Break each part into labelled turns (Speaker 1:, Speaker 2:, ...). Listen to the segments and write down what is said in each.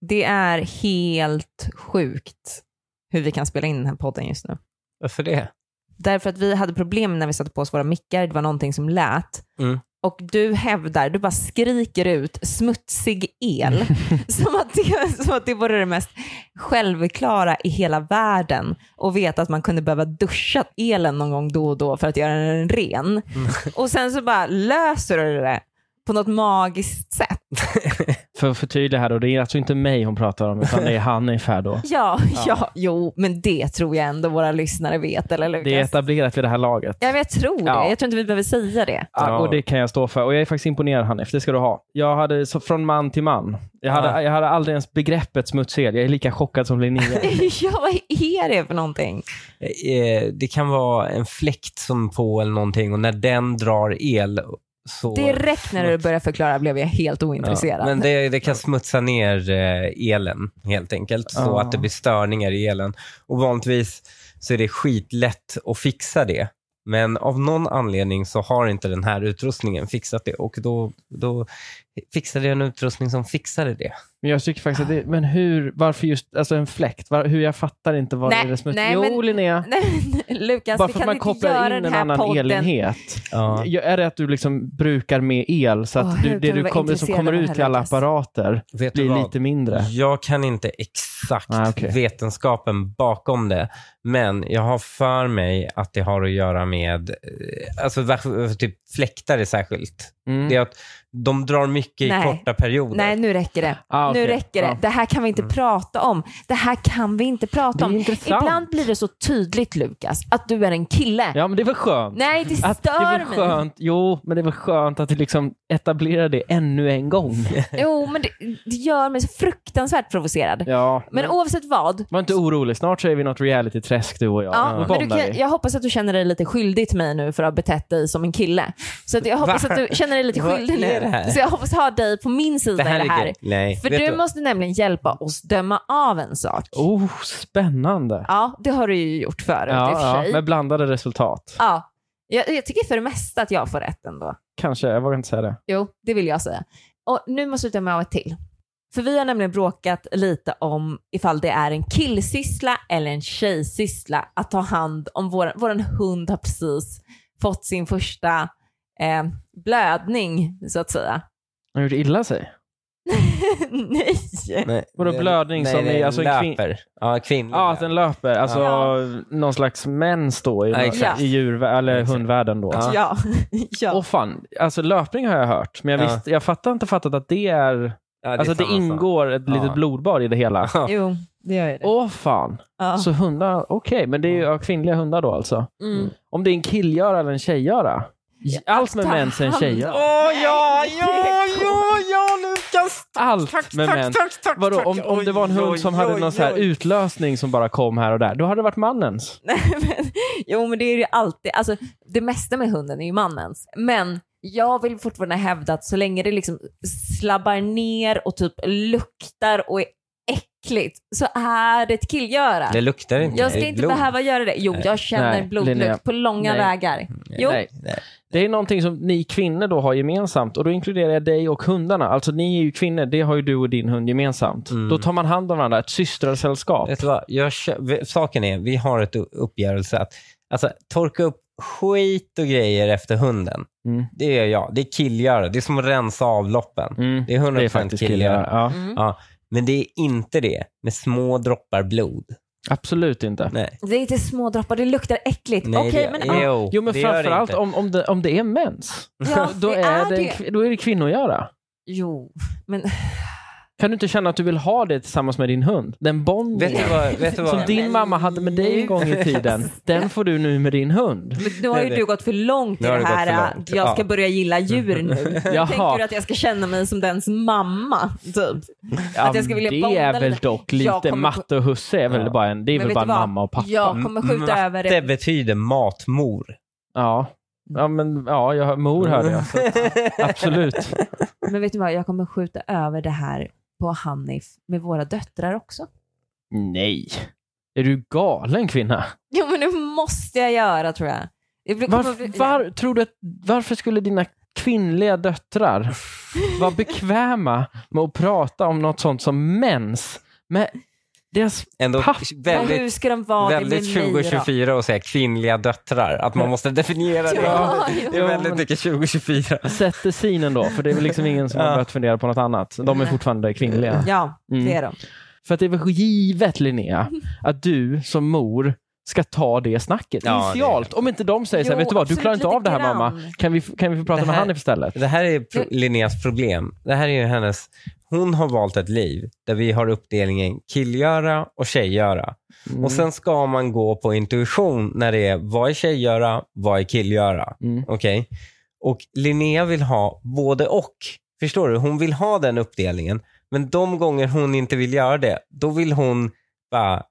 Speaker 1: Det är helt sjukt hur vi kan spela in den här podden just nu.
Speaker 2: Varför det?
Speaker 1: Därför att vi hade problem när vi satte på oss våra mickar, det var någonting som lät.
Speaker 2: Mm.
Speaker 1: Och du hävdar, du bara skriker ut smutsig el. som, att det, som att det vore det mest självklara i hela världen. Och veta att man kunde behöva duscha elen någon gång då och då för att göra den ren. Och sen så bara löser du det på något magiskt sätt.
Speaker 3: För att förtydliga här då, det är alltså inte mig hon pratar om, utan det är han ungefär då.
Speaker 1: Ja, ja, jo, men det tror jag ändå våra lyssnare vet, eller Lukas?
Speaker 3: Det är etablerat vid det här laget.
Speaker 1: Ja, men jag tror det.
Speaker 3: Ja.
Speaker 1: Jag tror inte vi behöver säga det.
Speaker 3: Ja, och det kan jag stå för. Och jag är faktiskt imponerad Hanif, det ska du ha. Jag hade så från man till man. Jag hade,
Speaker 2: Ja.
Speaker 3: jag hade aldrig ens begreppet smutsig el. Jag är lika chockad som Linnea.
Speaker 1: ja, vad är det för någonting?
Speaker 2: Eh, Det kan vara en fläkt som på eller någonting och när den drar el så...
Speaker 1: Direkt när du började förklara blev jag helt ointresserad.
Speaker 2: Ja, men det, det kan smutsa ner eh, elen helt enkelt, så
Speaker 3: Ja.
Speaker 2: att det blir störningar i elen. Och vanligtvis så är det skitlätt att fixa det. Men av någon anledning så har inte den här utrustningen fixat det och då, då fixade jag en utrustning som fixade det.
Speaker 3: Men jag tycker faktiskt att det, men hur, varför just, alltså en fläkt? Var, hur jag fattar inte vad
Speaker 1: Nej,
Speaker 3: det är smutsigt.
Speaker 1: nej,
Speaker 3: jo
Speaker 1: men-
Speaker 3: Linnea,
Speaker 1: Nej, men Lukas,
Speaker 3: bara
Speaker 1: vi
Speaker 3: för att
Speaker 1: kan
Speaker 3: man
Speaker 1: inte göra
Speaker 3: kopplar in
Speaker 1: den
Speaker 3: en
Speaker 1: här
Speaker 3: annan
Speaker 1: podden.
Speaker 3: elenhet.
Speaker 2: Ja.
Speaker 3: Ja, Är det att du liksom brukar med el, så att
Speaker 1: Åh, hur
Speaker 3: du,
Speaker 1: kan
Speaker 3: det
Speaker 1: du
Speaker 3: du
Speaker 1: vara
Speaker 3: kommer, som
Speaker 1: intresserad
Speaker 3: kommer
Speaker 1: av det
Speaker 3: ut
Speaker 1: här,
Speaker 3: till alla
Speaker 1: Lukas?
Speaker 3: apparater
Speaker 2: Vet du
Speaker 3: blir
Speaker 2: vad?
Speaker 3: lite mindre?
Speaker 2: Jag kan inte exakt
Speaker 3: Nej, okej.
Speaker 2: vetenskapen bakom det, men jag har för mig att det har att göra med, eh, alltså varför- typ fläktare särskilt.
Speaker 3: Mm.
Speaker 2: Det är att de drar mycket
Speaker 1: Nej.
Speaker 2: i korta perioder.
Speaker 1: Nej, nu räcker det.
Speaker 3: Ah, okej.
Speaker 1: Nu räcker det.
Speaker 3: Ja. Mm.
Speaker 1: Det här kan vi inte prata om. Det här kan vi inte prata
Speaker 3: Det är
Speaker 1: om.
Speaker 3: intressant.
Speaker 1: Ibland blir det så tydligt, Lukas, att du är en kille.
Speaker 3: Ja, men det var skönt.
Speaker 1: Nej, det
Speaker 3: Att det
Speaker 1: stör
Speaker 3: var
Speaker 1: mig.
Speaker 3: skönt, jo, men det var skönt att du liksom etablerade det ännu en gång.
Speaker 1: Jo, men det, det gör mig så fruktansvärt provocerad.
Speaker 3: Ja,
Speaker 1: Men oavsett vad,
Speaker 3: Var inte orolig, snart så är vi i något reality-träsk du och jag.
Speaker 1: Ja,
Speaker 3: Då
Speaker 1: men du
Speaker 3: bondar
Speaker 1: kan,
Speaker 3: vi.
Speaker 1: jag hoppas att du känner dig lite skyldig till mig nu för att ha betett dig som en kille. Så att jag hoppas att du känner dig lite
Speaker 2: Vad
Speaker 1: skyldig
Speaker 2: är det
Speaker 1: nu.
Speaker 2: här?
Speaker 1: Så jag hoppas ha dig på min sida
Speaker 2: Det här
Speaker 1: i det
Speaker 2: är
Speaker 1: här.
Speaker 2: grej- Nej,
Speaker 1: För
Speaker 2: vet
Speaker 1: du måste nämligen hjälpa oss döma av en sak.
Speaker 3: Oh, spännande.
Speaker 1: Ja, det har du ju gjort förut i och för
Speaker 3: Ja,
Speaker 1: sig.
Speaker 3: ja, med blandade resultat.
Speaker 1: Ja. Jag, jag tycker för det mesta att jag får rätt ändå.
Speaker 3: Kanske, jag vågar inte säga det.
Speaker 1: Jo, det vill jag säga. Och nu måste du döma av ett till. För vi har nämligen bråkat lite om ifall det är en killsyssla eller en tjejsyssla att ta hand om vår, våran hund har precis fått sin första eh, blödning så att säga.
Speaker 3: Har gjort illa sig?
Speaker 1: Nej!
Speaker 2: Nej.
Speaker 3: Vadå,
Speaker 2: Det-
Speaker 3: blödning
Speaker 2: nej,
Speaker 3: som
Speaker 2: det
Speaker 3: är- alltså en kvin-
Speaker 2: löper. Ja, kvinnlig.
Speaker 3: Ja, att den löper. Alltså någon slags mens då i,
Speaker 2: Ja,
Speaker 1: exakt.
Speaker 3: i djur, eller
Speaker 2: Exakt.
Speaker 3: hundvärlden då. Alltså,
Speaker 2: Ja.
Speaker 1: Ja. ja.
Speaker 3: Åh fan, alltså löpning har jag hört, men jag,
Speaker 2: Ja.
Speaker 3: visst, jag fattar inte fattat att det är...
Speaker 2: Ja,
Speaker 3: alltså att det
Speaker 2: samma sak.
Speaker 3: ingår ett litet
Speaker 2: Ja.
Speaker 3: blodbad i det hela.
Speaker 2: Ja.
Speaker 1: Jo, det gör ju det.
Speaker 3: Åh fan,
Speaker 2: Ah.
Speaker 1: Ja.
Speaker 3: så hundar, okej, men det är ju ja, kvinnliga hundar då alltså.
Speaker 1: Mm.
Speaker 3: Om det är en killgöra eller en tjejgöra? Allt med
Speaker 1: ta
Speaker 3: mens är en
Speaker 1: hand
Speaker 3: tjejgöra.
Speaker 2: Åh ja,
Speaker 1: Nej,
Speaker 2: ja,
Speaker 1: det är
Speaker 2: ja, ja, Lukas!
Speaker 3: Allt med mens.
Speaker 2: tack, tack,
Speaker 3: Vadå, om,
Speaker 2: tack.
Speaker 3: om det var en
Speaker 2: Oj,
Speaker 3: hund som hade
Speaker 2: oj,
Speaker 3: någon så här
Speaker 2: oj.
Speaker 3: utlösning som bara kom här och där, då hade det varit mannens.
Speaker 1: men, jo, men det är ju alltid, alltså det mesta med hunden är ju mannens. Men jag vill fortfarande hävda att så länge det liksom slabbar ner och typ luktar och är äckligt så är det ett killgöra.
Speaker 2: Det luktar inte.
Speaker 1: Jag ska
Speaker 2: Det är
Speaker 1: inte
Speaker 2: blod.
Speaker 1: behöva göra det. Jo, jag känner
Speaker 3: Nej, Linnea.
Speaker 1: blodlukt på långa
Speaker 3: Nej.
Speaker 1: vägar. Jo,
Speaker 3: Nej.
Speaker 2: Nej.
Speaker 3: Det är någonting som ni kvinnor då har gemensamt och då inkluderar jag dig och hundarna. Alltså ni är ju kvinnor, det har ju du och din hund gemensamt.
Speaker 2: Mm.
Speaker 3: Då tar man hand om varandra, ett systrasällskap.
Speaker 2: Vet du vad? Jag, kö- vi- saken är, vi har ett u- uppgörelse att alltså, torka upp skit och grejer efter hunden.
Speaker 3: Mm.
Speaker 2: Det gör jag. Det är killgöra. Det är som att rensa avloppen.
Speaker 3: Mm.
Speaker 2: Det är 100%
Speaker 3: Det är faktiskt
Speaker 2: killgöra.
Speaker 3: killgöra. Ja.
Speaker 1: mm.
Speaker 2: Men det är inte det med små droppar blod.
Speaker 3: Absolut inte.
Speaker 2: Nej.
Speaker 1: det är inte små droppar, det luktar äckligt.
Speaker 2: Nej,
Speaker 1: Okej,
Speaker 2: det,
Speaker 1: men ah,
Speaker 2: jo,
Speaker 1: ja,
Speaker 3: Jo men
Speaker 2: det gör det
Speaker 3: framförallt
Speaker 2: inte.
Speaker 3: om, om, det, om det är mens,
Speaker 1: ja,
Speaker 3: då,
Speaker 1: det
Speaker 3: är det en kvi- då är det kvinnogöra.
Speaker 1: Jo, men
Speaker 3: Kan du inte känna att du vill ha det tillsammans med din hund? Den
Speaker 2: Vet
Speaker 3: bonden
Speaker 2: du vad? Vet du
Speaker 3: som
Speaker 2: vad?
Speaker 3: din mamma hade med dig en gång i tiden, den får du nu med din hund.
Speaker 1: Men nu har ju
Speaker 2: Nej,
Speaker 1: du gått för långt i
Speaker 2: Nu har
Speaker 1: det
Speaker 2: du gått
Speaker 1: här
Speaker 2: för långt,
Speaker 1: att jag ska
Speaker 2: ja.
Speaker 1: börja gilla djur nu.
Speaker 3: Jaha.
Speaker 1: Tänker du att jag ska känna mig som dens mamma? Typ.
Speaker 3: Ja,
Speaker 1: Att jag ska vilja
Speaker 3: det
Speaker 1: bonda
Speaker 3: är väl
Speaker 1: lite.
Speaker 3: dock
Speaker 1: Jag
Speaker 3: lite,
Speaker 1: kommer på-
Speaker 3: matte och husse är väl
Speaker 2: Ja.
Speaker 3: bara en, det
Speaker 1: Men
Speaker 3: är väl
Speaker 1: vet
Speaker 3: bara
Speaker 1: du vad?
Speaker 3: mamma och pappa. Ja,
Speaker 1: Jag
Speaker 2: Mm.
Speaker 1: kommer skjuta
Speaker 2: Matte
Speaker 1: över det.
Speaker 2: betyder matmor.
Speaker 3: ja. men ja, jag, mor hörde jag. Så, absolut.
Speaker 1: Men vet du vad, jag kommer skjuta över det här på Hanif med våra döttrar också.
Speaker 3: Nej. Är du galen kvinna?
Speaker 1: Jo men det måste jag göra tror jag. Det blir- kommer
Speaker 3: Varför,
Speaker 1: bli-
Speaker 3: var, tror du att, varför skulle dina kvinnliga döttrar var bekväma med att prata om något sånt som mens med deras
Speaker 2: Ändå
Speaker 3: Pappa,
Speaker 1: Men
Speaker 2: väldigt,
Speaker 1: hur ska de vara det
Speaker 2: väldigt
Speaker 1: med mig då?
Speaker 2: 2024 att säga kvinnliga döttrar. Att man måste definiera det.
Speaker 1: Ja,
Speaker 2: Det
Speaker 1: ja.
Speaker 2: är väldigt mycket 2024.
Speaker 3: sätter synen då, för det är väl liksom ingen som har
Speaker 2: Ja.
Speaker 3: börjat fundera på något annat. De är fortfarande kvinnliga.
Speaker 1: ja,
Speaker 3: Mm.
Speaker 1: det är de.
Speaker 3: För att det är väl givet Linnea, att du som mor ska ta det snacket
Speaker 2: Ja, det är
Speaker 3: initialt. Om inte de säger så här,
Speaker 1: Jo,
Speaker 3: vet du vad, du
Speaker 1: absolut,
Speaker 3: klarar inte
Speaker 1: lite
Speaker 3: av det här
Speaker 1: grann.
Speaker 3: mamma. Kan vi, kan vi få prata
Speaker 2: Det
Speaker 3: med
Speaker 2: här-
Speaker 3: Hanif istället?
Speaker 2: Det här är pro- Linneas problem. Det här är ju hennes... Hon har valt ett liv där vi har uppdelningen killgöra och tjejgöra.
Speaker 3: Mm.
Speaker 2: Och sen ska man gå på intuition när det är vad är tjejgöra, vad är killgöra.
Speaker 3: Mm.
Speaker 2: Okej? Och Linnea vill ha både och. Förstår du? Hon vill ha den uppdelningen. Men de gånger hon inte vill göra det, då vill hon bara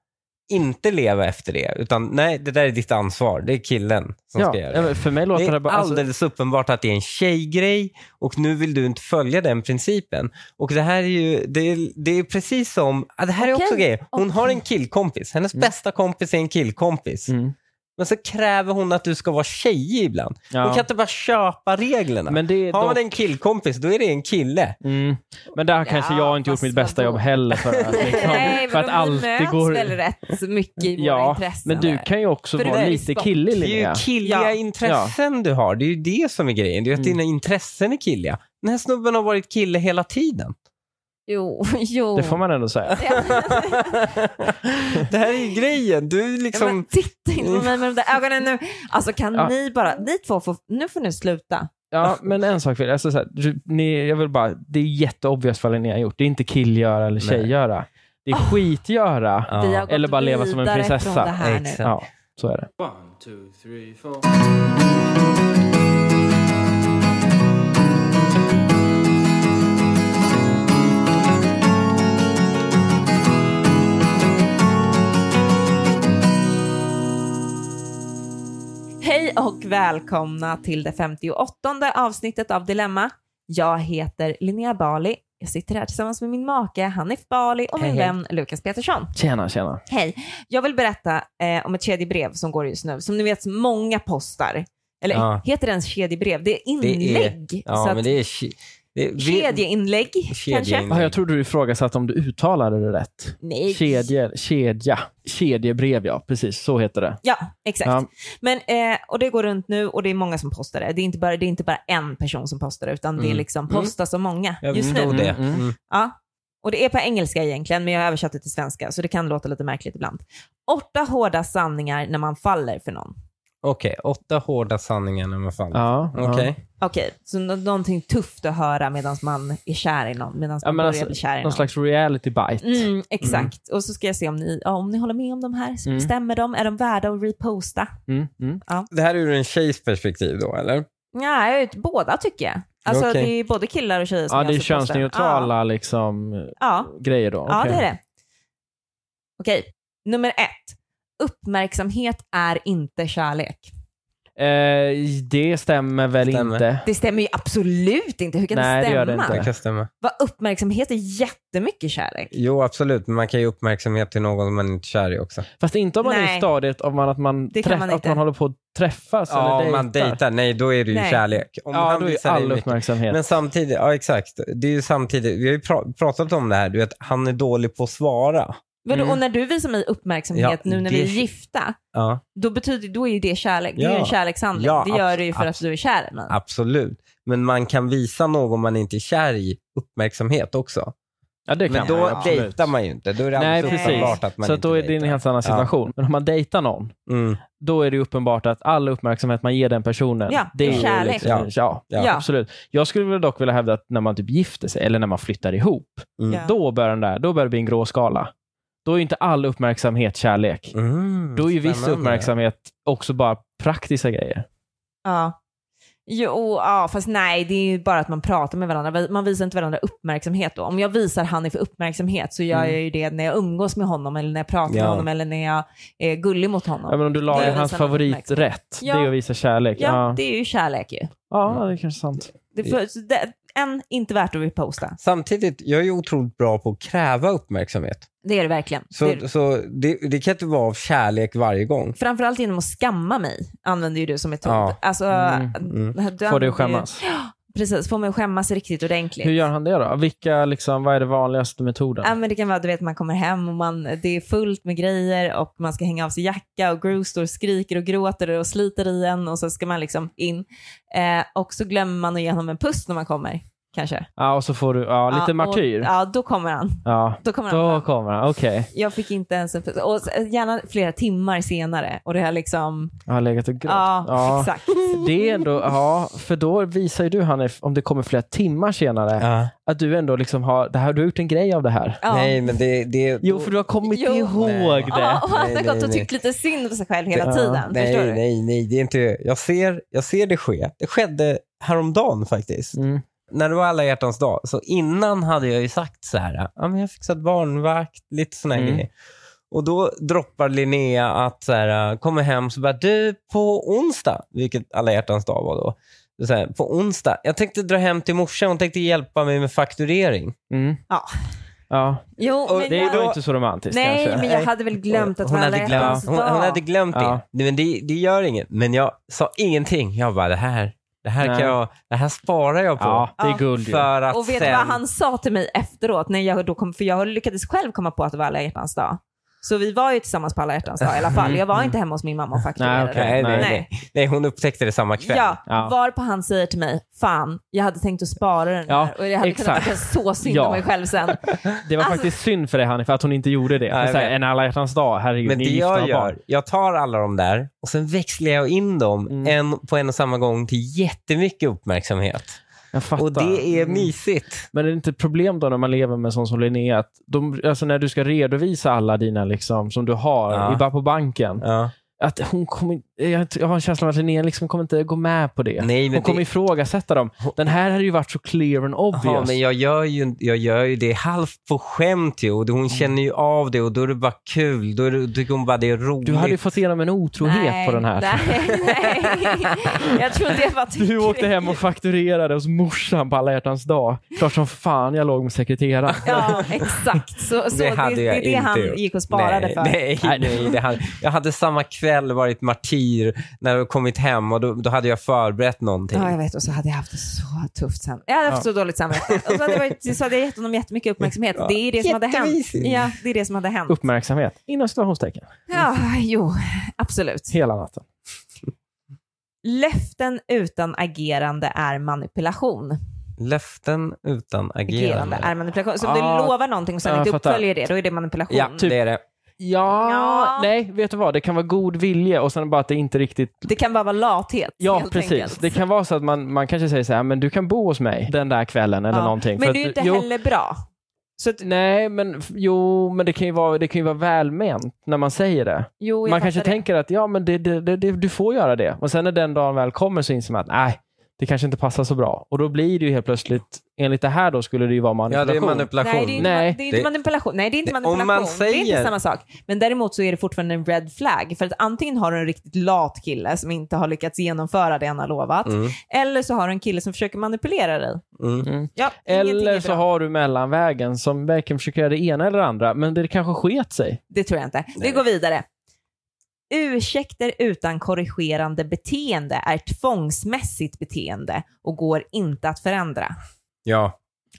Speaker 2: inte leva efter det. Utan nej, det där är ditt ansvar. Det är killen som
Speaker 3: Ja,
Speaker 2: ska göra det.
Speaker 3: ja, men för mig låter det,
Speaker 2: Det är
Speaker 3: bara... Alltså,
Speaker 2: alldeles uppenbart att det är en tjejgrej och nu vill du inte följa den principen. Och det här är ju, det är, det är precis som, ah, det här är
Speaker 1: Okej.
Speaker 2: också grejer. Hon har
Speaker 1: Okej.
Speaker 2: en killkompis, hennes
Speaker 3: Mm.
Speaker 2: bästa kompis är en killkompis.
Speaker 3: mm.
Speaker 2: Men så kräver hon att du ska vara tjejig ibland. Hon kan
Speaker 3: ja.
Speaker 2: inte bara köpa reglerna.
Speaker 3: Men det är
Speaker 2: har
Speaker 3: dock-
Speaker 2: man en killkompis, då är det en kille.
Speaker 3: Mm. Men där kanske jag inte gjort
Speaker 1: fast
Speaker 3: mitt bästa
Speaker 1: vadå?
Speaker 3: jobb heller. För att, liksom,
Speaker 1: Nej,
Speaker 3: för att allt det går...
Speaker 1: väl rätt mycket i våra
Speaker 3: Ja,
Speaker 1: intressen?
Speaker 3: men du
Speaker 1: där.
Speaker 3: kan ju också
Speaker 1: För det
Speaker 3: vara
Speaker 1: där är
Speaker 3: lite
Speaker 1: sport.
Speaker 3: killig
Speaker 2: Det är
Speaker 3: Linnea.
Speaker 2: ju killiga
Speaker 1: Ja.
Speaker 2: intressen du har. Det är ju det som är grejen. Det är ju att
Speaker 3: Mm.
Speaker 2: dina intressen är killiga. Den här snubben har varit kille hela tiden.
Speaker 1: Jo, jo.
Speaker 3: Det får man ändå säga.
Speaker 2: det här är ju grejen. Du är
Speaker 1: Ja,
Speaker 2: liksom...
Speaker 1: men titta inte på mig med de där ögonen nu. Alltså kan
Speaker 3: Ja.
Speaker 1: ni bara, ni två får, nu får ni sluta.
Speaker 3: Ja, men en sak vill alltså, så här, du- ni, jag vill bara, det är jätteobvious vad ni har gjort. Det är inte killgöra eller
Speaker 2: Nej.
Speaker 3: tjejgöra. Det är
Speaker 1: Ah.
Speaker 3: skitgöra.
Speaker 2: Ja.
Speaker 1: Vi har gått
Speaker 3: Eller bara leva som en
Speaker 1: vidare från
Speaker 3: prinsessa.
Speaker 1: Det här nu.
Speaker 2: Exakt.
Speaker 3: Ja, så är det.
Speaker 4: One, two, three, four.
Speaker 1: Hej och välkomna till det 58 avsnittet av Dilemma. Jag heter Linnea Bali. Jag sitter här tillsammans med min make Hanif Bali och min
Speaker 2: Hej, hej.
Speaker 1: vän Lukas Petersson.
Speaker 3: Tjena, tjena.
Speaker 1: Hej! Jag vill berätta eh, om ett kedjebrev som går just nu. Som ni vet, många postar. Eller
Speaker 2: Ja.
Speaker 1: heter det ens kedjebrev? Det är
Speaker 2: är-
Speaker 1: inlägg.
Speaker 2: Ja,
Speaker 1: så
Speaker 2: men
Speaker 1: att,
Speaker 2: det är... ki- Det, vi-
Speaker 1: kedjeinlägg kanske?
Speaker 2: Kedjeinlägg.
Speaker 3: Ah, jag trodde du ifrågasatte om du uttalade det rätt.
Speaker 1: Nej.
Speaker 3: Kedje, kedja. Kedjebrev, ja. Precis, så heter det.
Speaker 1: Ja, exakt.
Speaker 3: Ja.
Speaker 1: Men, eh, och det går runt nu och det är många som postar det. Det är inte bara, det är inte bara en person som postar det, utan det är
Speaker 2: Mm.
Speaker 1: liksom postas av många
Speaker 2: Jag
Speaker 1: just nu.
Speaker 2: förstod det.
Speaker 3: Mm, mm.
Speaker 2: Mm.
Speaker 1: Ja. Och det är på engelska egentligen, men jag har översatt det till svenska, så det kan låta lite märkligt ibland. Åtta hårda sanningar när man faller för någon.
Speaker 2: Okej, åtta hårda sanningar när man faller.
Speaker 3: Ja, ja.
Speaker 2: Okej.
Speaker 1: Okej, så nå- någonting tufft att höra medan man är kär i någon, medan
Speaker 3: Ja,
Speaker 1: man
Speaker 3: men
Speaker 1: börjar
Speaker 3: alltså,
Speaker 1: bli kär i någon.
Speaker 3: Någon slags reality bite.
Speaker 1: Mm, exakt. Och så ska jag se om ni, ja, om ni håller med om de här.
Speaker 3: Mm.
Speaker 1: Stämmer de? Är de värda att reposta?
Speaker 3: Mm, mm.
Speaker 2: Det här är ur en tjejs perspektiv då, eller?
Speaker 1: Nej, ut- båda tycker jag. Alltså
Speaker 2: Okej.
Speaker 1: det är både killar och tjejer som
Speaker 3: Ja, det är
Speaker 1: alltså postar.
Speaker 3: könsneutrala liksom,
Speaker 1: Ja,
Speaker 3: grejer då.
Speaker 1: ja, ja
Speaker 3: Okej.
Speaker 1: det är det. Okej, nummer ett. Uppmärksamhet är inte kärlek.
Speaker 3: Eh, det stämmer väl
Speaker 2: Stämmer.
Speaker 3: inte.
Speaker 1: Det stämmer ju absolut inte. Hur kan
Speaker 3: Nej,
Speaker 1: det
Speaker 3: det
Speaker 1: stämma?
Speaker 3: gör det
Speaker 2: Det
Speaker 3: inte.
Speaker 2: kan stämma.
Speaker 1: Vad uppmärksamhet är jättemycket kärlek.
Speaker 2: Jo, absolut. Men man kan ge uppmärksamhet till någon man inte är kär i också.
Speaker 3: Fast inte om man är
Speaker 1: Nej.
Speaker 3: i stadiet om man, att, man
Speaker 1: Det kan
Speaker 3: träff,
Speaker 1: man
Speaker 3: att
Speaker 1: inte.
Speaker 3: man håller på att träffas
Speaker 2: Ja,
Speaker 3: eller
Speaker 2: om
Speaker 3: dejtar.
Speaker 2: man dejtar, nej då är det ju
Speaker 1: Nej.
Speaker 2: kärlek. Om
Speaker 3: Ja,
Speaker 2: han
Speaker 3: då är
Speaker 2: visar dig
Speaker 3: all
Speaker 2: mycket-
Speaker 3: uppmärksamhet.
Speaker 2: Men samtidigt, ja exakt. Det är ju samtidigt, vi har ju pra- pratat om det här, du vet, han är dålig på att svara.
Speaker 1: Vadå,
Speaker 3: Mm.
Speaker 1: Och när du visar mig uppmärksamhet
Speaker 2: Ja,
Speaker 1: nu när
Speaker 2: det-
Speaker 1: vi är gifta,
Speaker 2: Ja,
Speaker 1: då, betyder, då är ju det kärlek. Det är ju
Speaker 2: Ja.
Speaker 1: en kärlekshandling.
Speaker 2: Ja,
Speaker 1: det gör
Speaker 2: abs-
Speaker 1: du ju för att du är kär i mig.
Speaker 2: absolut. Men man kan visa någon man inte är kär i uppmärksamhet också.
Speaker 3: ja, det kan
Speaker 2: Men då
Speaker 3: man, absolut.
Speaker 2: dejtar man ju inte. Då är det
Speaker 3: Nej,
Speaker 2: alldeles
Speaker 1: precis.
Speaker 2: uppenbart att man
Speaker 3: Så att
Speaker 2: inte
Speaker 3: då är det en
Speaker 2: dejtar.
Speaker 3: helt annan situation. Men om man dejtar någon,
Speaker 2: Mm.
Speaker 3: då är det ju uppenbart att all uppmärksamhet man ger den personen,
Speaker 1: Ja,
Speaker 3: det är ju
Speaker 1: kärlek.
Speaker 3: Liksom, ja.
Speaker 2: Ja.
Speaker 1: Ja.
Speaker 3: absolut. Jag skulle väl dock vilja hävda att när man typ gifter sig eller när man flyttar ihop,
Speaker 2: Mm.
Speaker 1: Ja.
Speaker 3: då börjar, den där, då börjar det bli en grå skala. Då är ju inte all uppmärksamhet kärlek.
Speaker 2: Mm.
Speaker 3: Då är ju viss
Speaker 2: Spännande.
Speaker 3: uppmärksamhet också bara praktiska grejer.
Speaker 1: Ja. Jo, ja, fast nej, det är ju bara att man pratar med varandra. Man visar inte varandra uppmärksamhet då. Om jag visar Hanif uppmärksamhet så gör
Speaker 3: Mm.
Speaker 1: jag ju det när jag umgås med honom eller när jag pratar
Speaker 2: Ja.
Speaker 1: med honom eller när jag är gullig mot honom.
Speaker 3: Ja, men om du
Speaker 1: Det
Speaker 3: lagar
Speaker 1: är
Speaker 3: hans
Speaker 1: visar någon
Speaker 3: favorit
Speaker 1: uppmärksamhet.
Speaker 3: rätt,
Speaker 1: Ja.
Speaker 3: det är att visa kärlek.
Speaker 1: Ja,
Speaker 3: Ja,
Speaker 1: det är ju kärlek ju.
Speaker 3: ja det är kanske sant.
Speaker 1: Det, för, så det, en, inte värt att reposta.
Speaker 2: Samtidigt, jag är ju otroligt bra på att kräva uppmärksamhet.
Speaker 1: Det är det verkligen.
Speaker 2: Så
Speaker 1: Det
Speaker 2: det,
Speaker 1: är,
Speaker 2: så det, det kan inte vara av kärlek varje gång.
Speaker 1: framförallt genom att skamma mig använder ju du som metod.
Speaker 2: Ja.
Speaker 1: Alltså,
Speaker 3: Mm.
Speaker 1: du
Speaker 2: Mm.
Speaker 1: använder
Speaker 3: Får
Speaker 1: ju-
Speaker 3: du skämmas.
Speaker 1: Precis, får mig att skämmas riktigt ordentligt.
Speaker 3: Hur gör han det då? Vilka, liksom, vad är det vanligaste
Speaker 1: Ja,
Speaker 3: metoden?
Speaker 1: men det kan vara du vet man kommer hem och man, det är fullt med grejer och man ska hänga av sig jacka och Gru står och skriker och gråter och sliter i en och så ska man liksom in. Eh, och så glömmer man att ge honom en puss när man kommer kanske.
Speaker 3: Ja, och så får du, ja, lite
Speaker 1: och-
Speaker 3: martyr.
Speaker 1: Ja, då kommer han.
Speaker 3: Ja,
Speaker 1: Då kommer han.
Speaker 3: då
Speaker 1: fram.
Speaker 3: kommer han. Okej.
Speaker 1: Jag fick inte ens en puss. Och s- gärna flera timmar senare och det här liksom,
Speaker 3: Jag har legat och grått.
Speaker 1: ja,
Speaker 3: Ja.
Speaker 1: exakt.
Speaker 3: Det är ändå, ja, för då visar ju du Hanif, om det kommer flera timmar senare,
Speaker 2: Ja.
Speaker 3: att du ändå liksom har, det här, du har gjort en grej av det här.
Speaker 1: Ja.
Speaker 2: Nej, men det... det
Speaker 3: Jo, för du har kommit
Speaker 1: Jo.
Speaker 3: ihåg
Speaker 2: Nej.
Speaker 1: Ja,
Speaker 3: det.
Speaker 1: och han
Speaker 2: Nej,
Speaker 1: har gått
Speaker 2: nej,
Speaker 1: och
Speaker 2: nej.
Speaker 1: tyckt lite synd om sig själv hela
Speaker 3: Ja.
Speaker 1: tiden. förstår
Speaker 2: Nej,
Speaker 1: du?
Speaker 2: nej, nej. Det är inte, jag, ser, jag ser det ske. Det skedde häromdagen faktiskt.
Speaker 3: Mm.
Speaker 2: När det var alla hjärtans dag, så innan hade jag ju sagt så här, ja men jag har fixat barnvakt, lite såna här
Speaker 3: Mm.
Speaker 2: grejer. Och då droppar Linnea att så här, kommer hem så bara, du på onsdag, vilket alla hjärtans dag var då, så här, på onsdag, jag tänkte dra hem till morsan, hon tänkte hjälpa mig med fakturering.
Speaker 3: Mm.
Speaker 1: Ja.
Speaker 3: ja.
Speaker 1: Jo,
Speaker 2: Och
Speaker 1: men
Speaker 3: Det är
Speaker 1: jag,
Speaker 3: då inte så romantiskt
Speaker 1: nej,
Speaker 3: kanske.
Speaker 1: men jag hade väl glömt att
Speaker 2: hon,
Speaker 1: det var
Speaker 2: hade
Speaker 1: alla
Speaker 2: glömt,
Speaker 1: hjärtans
Speaker 2: hon,
Speaker 1: dag.
Speaker 2: hon hade glömt det.
Speaker 3: Ja.
Speaker 2: Nej, Men det, det gör inget. Men jag sa ingenting. Jag bara, det här, det här,
Speaker 3: Nej.
Speaker 2: kan jag, det här sparar jag på.
Speaker 3: Ja, det
Speaker 1: Ja.
Speaker 3: är guld ju.
Speaker 2: För att
Speaker 1: Och vet du
Speaker 2: sen...
Speaker 1: vad han sa till mig efteråt? När jag då kom, för jag lyckades själv komma på att det var alla hjärtans dag. Så vi var ju tillsammans på alla hjärtans dag i alla fall. Jag var inte hemma hos min mamma och fakturerade.
Speaker 3: Mm, Nej, okej.
Speaker 2: Nej, nej,
Speaker 3: Nej.
Speaker 2: nej. nej, hon upptäckte det samma kväll.
Speaker 1: Ja,
Speaker 3: Ja.
Speaker 1: varpå han säger till mig, fan, jag hade tänkt att spara den
Speaker 3: Ja,
Speaker 1: här och jag hade kunnat
Speaker 3: exakt.
Speaker 1: tycka så synd
Speaker 3: Ja.
Speaker 1: om mig själv sen.
Speaker 3: Det var
Speaker 1: Alltså-
Speaker 3: faktiskt synd för dig Hanif att hon inte gjorde det.
Speaker 2: Ja, jag
Speaker 3: För så här,
Speaker 2: vet.
Speaker 3: en alla hjärtans dag, herregud,
Speaker 2: Men
Speaker 3: ni
Speaker 2: det
Speaker 3: är gifta och
Speaker 2: jag
Speaker 3: har barn.
Speaker 2: gör, jag tar alla de där och sen växlar jag in dem
Speaker 3: Mm.
Speaker 2: en, på en och samma gång till jättemycket uppmärksamhet.
Speaker 3: Jag fattar.
Speaker 2: Och det är
Speaker 3: Mm.
Speaker 2: mysigt.
Speaker 3: Men är det inte ett problem då när man lever med en sån som Linnea, att de, alltså när du ska redovisa alla dina liksom, som du har
Speaker 2: Ja.
Speaker 3: i, bara på banken,
Speaker 2: Ja.
Speaker 3: att hon kommer, in- jag, jag har en känsla av att Linnea liksom kommer inte gå med på det.
Speaker 2: Nej, men
Speaker 3: hon kommer
Speaker 2: det-
Speaker 3: ifrågasätta dem. Den här hade ju varit så clear and obvious.
Speaker 2: Ja, men jag gör, ju, jag gör ju det halvt på skämt ju, och hon känner ju av det och då är det bara kul. Då är det, tycker hon bara det är roligt.
Speaker 3: Du hade ju fått igenom en otrohet på den här.
Speaker 1: Nej, nej. Jag tror inte jag bara tycker
Speaker 3: Du åkte hem och fakturerade hos morsan på alla hjärtans dag. Klart som fan jag låg med sekreteraren.
Speaker 1: Ja, exakt. Så, så det,
Speaker 2: hade
Speaker 1: det,
Speaker 2: jag
Speaker 1: är det
Speaker 2: inte
Speaker 1: han
Speaker 2: gjort.
Speaker 1: gick och sparade
Speaker 2: nej,
Speaker 1: för.
Speaker 2: Nej,
Speaker 3: Nej.
Speaker 2: nej det hade, jag hade samma kväll varit martyr när jag kommit hem och då, då hade jag förberett någonting.
Speaker 1: Ja, jag vet. Och så hade jag haft det så tufft sen. Jag hade haft så dåligt samvete. Och så hade, jag varit, så hade jag gett honom jättemycket uppmärksamhet. Det är det som hade hänt.
Speaker 2: Jättemysigt.
Speaker 1: Ja, det är det som hade hänt.
Speaker 3: Uppmärksamhet. Inom situationstecken.
Speaker 1: Ja, jo, absolut.
Speaker 3: Hela natten.
Speaker 1: Löften utan agerande är manipulation.
Speaker 2: Löften utan
Speaker 1: Agerande
Speaker 2: agerande.
Speaker 1: är manipulation. Så om
Speaker 3: Ja.
Speaker 1: du lovar någonting och sen
Speaker 3: Ja,
Speaker 1: inte
Speaker 3: jag fattar. typ.
Speaker 1: uppföljer det, då är det manipulation.
Speaker 2: Ja, det är det.
Speaker 3: Ja,
Speaker 1: Ja.
Speaker 3: nej, vet du vad? Det kan vara god vilja och sen bara att det inte riktigt...
Speaker 1: Det kan bara vara lathet.
Speaker 3: Ja,
Speaker 1: helt
Speaker 3: precis.
Speaker 1: Enkelt.
Speaker 3: Det kan vara så att man, man kanske säger så här, men du kan bo hos mig den där kvällen eller
Speaker 1: Ja.
Speaker 3: någonting.
Speaker 1: Men
Speaker 3: För
Speaker 1: det är ju
Speaker 3: att-
Speaker 1: inte
Speaker 3: jo,
Speaker 1: heller bra. Så att,
Speaker 3: Nej, men f- jo, men det kan ju vara, det kan ju vara välment när man säger det.
Speaker 1: jo, jag
Speaker 3: man
Speaker 1: fattar
Speaker 3: kanske
Speaker 1: det.
Speaker 3: tänker att ja, men det, det, det, det, du får göra det. Och sen när den dagen väl kommer så inser man att nej, det kanske inte passar så bra. Och då blir det ju helt plötsligt, enligt det här då skulle det ju vara
Speaker 2: Ja,
Speaker 3: manipulation.
Speaker 2: det är manipulation.
Speaker 1: Nej, det är inte,
Speaker 3: Nej.
Speaker 1: det är inte
Speaker 2: Det-
Speaker 1: manipulation. Nej, det är inte
Speaker 2: det- om
Speaker 1: manipulation.
Speaker 2: man
Speaker 1: Det är inte
Speaker 2: säger-
Speaker 1: samma sak. Men däremot så är det fortfarande en red flag. För att antingen har du en riktigt lat kille som inte har lyckats genomföra det han har lovat.
Speaker 2: Mm,
Speaker 1: Eller så har du en kille som försöker manipulera dig.
Speaker 2: mm.
Speaker 1: Ja, ingenting
Speaker 3: Eller
Speaker 1: är
Speaker 3: så
Speaker 1: bra.
Speaker 3: har du mellanvägen som verkligen försöker göra det ena eller det andra, men det kanske sket sig.
Speaker 1: Det tror jag inte. Vi
Speaker 2: Nej.
Speaker 1: går vidare. Ursäkter utan korrigerande beteende är tvångsmässigt beteende och går inte att förändra.
Speaker 2: Ja,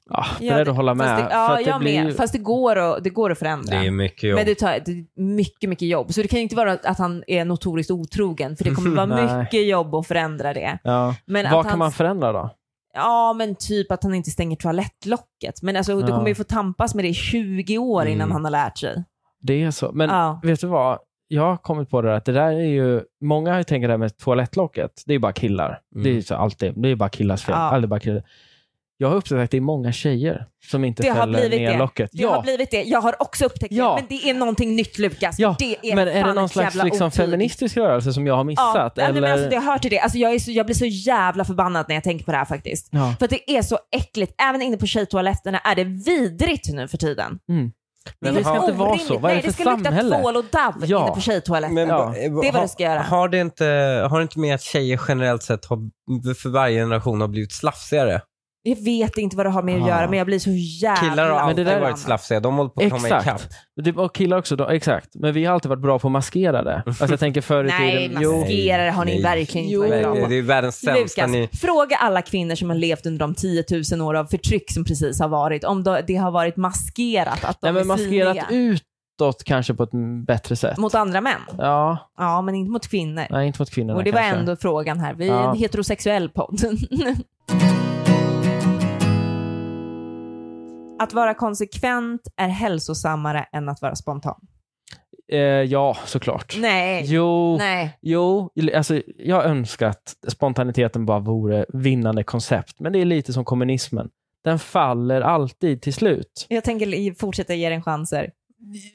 Speaker 3: Ja,
Speaker 1: Ja,
Speaker 3: beredd
Speaker 1: det-
Speaker 3: att hålla med.
Speaker 1: Fast det, ja,
Speaker 3: för att det
Speaker 1: jag
Speaker 3: blir...
Speaker 1: med. Fast det går, att, det går att
Speaker 2: det
Speaker 1: förändra.
Speaker 2: är mycket jobb.
Speaker 1: Men det tar det är mycket, mycket jobb. Så det kan ju inte vara att han är notoriskt otrogen, för det kommer vara
Speaker 3: Nej.
Speaker 1: mycket jobb att förändra det.
Speaker 3: Ja.
Speaker 1: Men
Speaker 3: Vad
Speaker 1: att
Speaker 3: kan
Speaker 1: han,
Speaker 3: man förändra då?
Speaker 1: Ja, men typ att han inte stänger toalettlocket. Men alltså, du
Speaker 3: Ja.
Speaker 1: kommer ju få tampas med det i 20 år innan
Speaker 2: Mm.
Speaker 1: han har lärt sig.
Speaker 3: Det är så. Men
Speaker 1: Ja.
Speaker 3: vet du vad? Jag har kommit på det där att det där är ju, många har ju tänkt det där med toalettlocket, det är ju bara killar. Det är ju så alltid, det är bara killars fel.
Speaker 1: Ja.
Speaker 3: Aldrig bara killar. Jag har upptäckt att det är många tjejer som inte
Speaker 1: Det har
Speaker 3: fäller
Speaker 1: blivit
Speaker 3: ner
Speaker 1: det.
Speaker 3: locket.
Speaker 1: Det
Speaker 3: ja,
Speaker 1: har blivit det. Jag har också upptäckt
Speaker 3: Ja.
Speaker 1: det. Men det är någonting nytt Lukas.
Speaker 3: ja.
Speaker 1: Det är
Speaker 3: men är
Speaker 1: fan
Speaker 3: det någon
Speaker 1: ett
Speaker 3: slags
Speaker 1: jävla
Speaker 3: liksom
Speaker 1: otyg.
Speaker 3: feministisk rörelse som jag har
Speaker 1: Ja,
Speaker 3: missat?
Speaker 1: eller... men
Speaker 3: eller?
Speaker 1: alltså, det hör till det. Alltså, jag, är så, jag blir så jävla förbannad när jag tänker på det här faktiskt.
Speaker 3: ja.
Speaker 1: För att det är så äckligt. Även inne på tjejtoaletterna är det vidrigt nu för tiden.
Speaker 3: Mm. Men
Speaker 1: är
Speaker 3: det ska
Speaker 1: helt
Speaker 3: inte vara
Speaker 1: orimligt.
Speaker 3: så. Vad är
Speaker 1: Nej,
Speaker 3: det för
Speaker 1: ska lukta
Speaker 3: samhälle?
Speaker 1: tvål och dav
Speaker 3: Ja.
Speaker 1: inne på tjejtoaletten.
Speaker 2: Men
Speaker 3: Ja.
Speaker 2: eh,
Speaker 1: Det är vad
Speaker 2: ha-
Speaker 1: du ska göra.
Speaker 2: Har det inte, har det inte med att tjejer generellt sett har, för varje generation har blivit slafsigare?
Speaker 1: Jag vet inte vad det har med att
Speaker 3: Ah.
Speaker 1: göra, men jag blir så jävla...
Speaker 2: Killar har
Speaker 3: Men det
Speaker 2: alltid
Speaker 3: där-
Speaker 2: varit slafsiga. De håller på att komma ikapp.
Speaker 3: Exakt. Det var typ, killar också. Då, exakt. Men vi har alltid varit bra på att maskera det. Alltså jag tänker förr i
Speaker 1: Nej,
Speaker 3: tiden. Jo,
Speaker 1: maskerare har ni
Speaker 2: Nej.
Speaker 1: verkligen inte
Speaker 3: Jo.
Speaker 1: varit bra
Speaker 2: Men
Speaker 1: på.
Speaker 2: Det det är ju världens sämsta.
Speaker 1: Lukas,
Speaker 2: Ni,
Speaker 1: fråga alla kvinnor som har levt under de 10 000 år av förtryck som precis har varit, om då- det har varit maskerat att de
Speaker 3: nej, men
Speaker 1: är
Speaker 3: maskerat
Speaker 1: synliga
Speaker 3: utåt kanske på ett m- bättre sätt.
Speaker 1: mot andra män.
Speaker 3: Ja,
Speaker 1: Ja, men inte mot kvinnor.
Speaker 3: nej, inte mot kvinnorna
Speaker 1: Och det var
Speaker 3: kanske.
Speaker 1: ändå frågan här. Vi är
Speaker 3: Ja.
Speaker 1: en heterosexuell podd. att vara konsekvent är hälsosammare än att vara spontan.
Speaker 3: Eh, ja, såklart.
Speaker 1: Nej.
Speaker 3: Jo,
Speaker 1: Nej.
Speaker 3: jo alltså, jag önskar att spontaniteten bara vore vinnande koncept. Men det är lite som kommunismen. Den faller alltid till slut.
Speaker 1: Jag tänker li- fortsätta ge den chanser.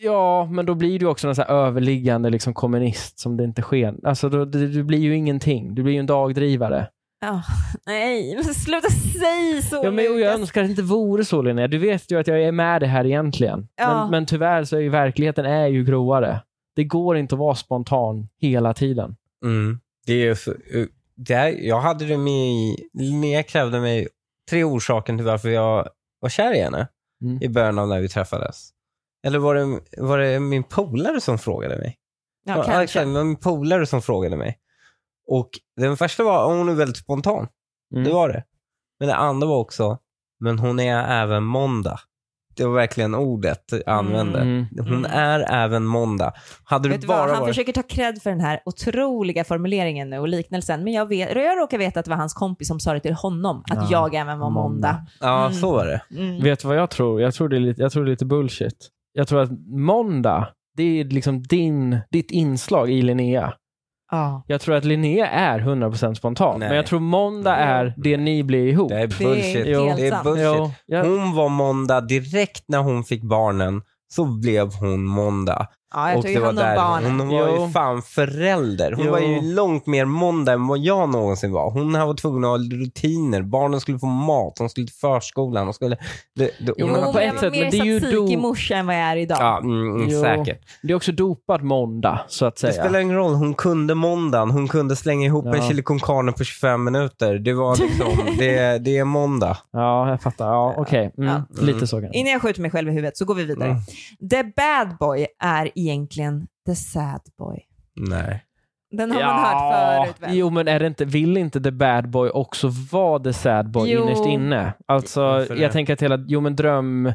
Speaker 3: Ja, men då blir du också någon så här överliggande liksom, kommunist som det inte sker. Alltså, då, det, du blir ju ingenting. Du blir ju en dagdrivare.
Speaker 1: Ja, nej, men sluta säga så
Speaker 3: Ja, men jag
Speaker 1: Lukas.
Speaker 3: önskar att det inte vore så, Linnea. Du vet ju att jag är med det här egentligen.
Speaker 1: Ja.
Speaker 3: Men, men tyvärr så är ju verkligheten är ju gråare. Det går inte att vara spontan hela tiden.
Speaker 2: mm, det är ju så, eh, det här, jag hade det med i... Linnea krävde mig tre orsaker till varför jag var kär i henne
Speaker 3: Mm.
Speaker 2: i början av när vi träffades. Eller var det, var det min polare som frågade mig?
Speaker 1: Ja, kanske.
Speaker 2: exakt. Det var min polare som frågade mig. Och den första var, hon är väldigt spontan.
Speaker 3: Mm.
Speaker 2: Det var det. Men det andra var också, men hon är även måndag. Det var verkligen ordet jag använde.
Speaker 3: Mm.
Speaker 2: Hon är även måndag. Hade
Speaker 1: Vet
Speaker 2: du
Speaker 1: du
Speaker 2: bara
Speaker 1: vad, han
Speaker 2: varit...
Speaker 1: försöker ta cred för den här otroliga formuleringen nu och liknelsen, men jag, vet, jag råkar veta att det var hans kompis som sa det till honom, att
Speaker 3: Ja.
Speaker 1: jag även var måndag.
Speaker 2: Ja,
Speaker 1: Mm.
Speaker 2: så var det.
Speaker 1: Mm.
Speaker 3: Vet du vad jag tror? Jag tror, det är lite, jag tror det är lite bullshit. Jag tror att måndag, det är liksom din, ditt inslag i Linnea.
Speaker 1: Ja.
Speaker 3: Jag tror att Linnea är 100% spontan,
Speaker 2: Nej.
Speaker 3: men jag tror måndag är det ni blir ihop.
Speaker 2: Det är
Speaker 1: Det är
Speaker 2: bullshit.
Speaker 1: helt
Speaker 2: Det är,
Speaker 1: sant.
Speaker 2: bullshit.
Speaker 3: Jo, jag,
Speaker 2: Hon var måndag direkt när hon fick barnen. Så blev hon måndag.
Speaker 1: ja, jag
Speaker 2: och
Speaker 1: tog
Speaker 2: det
Speaker 1: ju
Speaker 2: var
Speaker 1: hand om
Speaker 2: där
Speaker 1: barnen.
Speaker 2: hon var
Speaker 3: Jo.
Speaker 2: ju fan förälder. Hon
Speaker 3: Jo.
Speaker 2: var ju långt mer måndag än vad jag någonsin var. Hon var tvungen att ha rutiner. Barnen skulle få mat, hon skulle till förskolan. Hon skulle... Det, det,
Speaker 3: Jo,
Speaker 1: Jo, men
Speaker 3: men på
Speaker 1: jag
Speaker 3: ett
Speaker 1: var
Speaker 3: sätt,
Speaker 1: mer
Speaker 3: men det är ju
Speaker 1: satsiki
Speaker 3: då-
Speaker 1: morsa än vad jag är idag.
Speaker 2: Ja, mm, mm,
Speaker 3: Jo.
Speaker 2: säkert.
Speaker 3: det är också dopat måndag, så att
Speaker 2: Det
Speaker 3: säga.
Speaker 2: spelar ingen roll, hon kunde måndagen. Hon kunde slänga ihop en
Speaker 3: Ja.
Speaker 2: chili con carne på 25 minuter. Det var liksom, det, det är måndag.
Speaker 3: Ja, jag fattar. Ja, okej. Mm,
Speaker 2: Ja.
Speaker 3: Lite så kanske.
Speaker 1: Innan jag skjuter mig själv i huvudet så går vi vidare.
Speaker 2: Mm.
Speaker 1: The bad boy är egentligen the sad boy.
Speaker 2: Nej.
Speaker 1: Den har man hört förut väl?
Speaker 3: Jo, men är det inte, vill inte the bad boy också vara the sad boy
Speaker 1: Jo.
Speaker 3: innerst inne? Alltså,
Speaker 2: Varför det?
Speaker 3: jag tänker att hela jo, men dröm,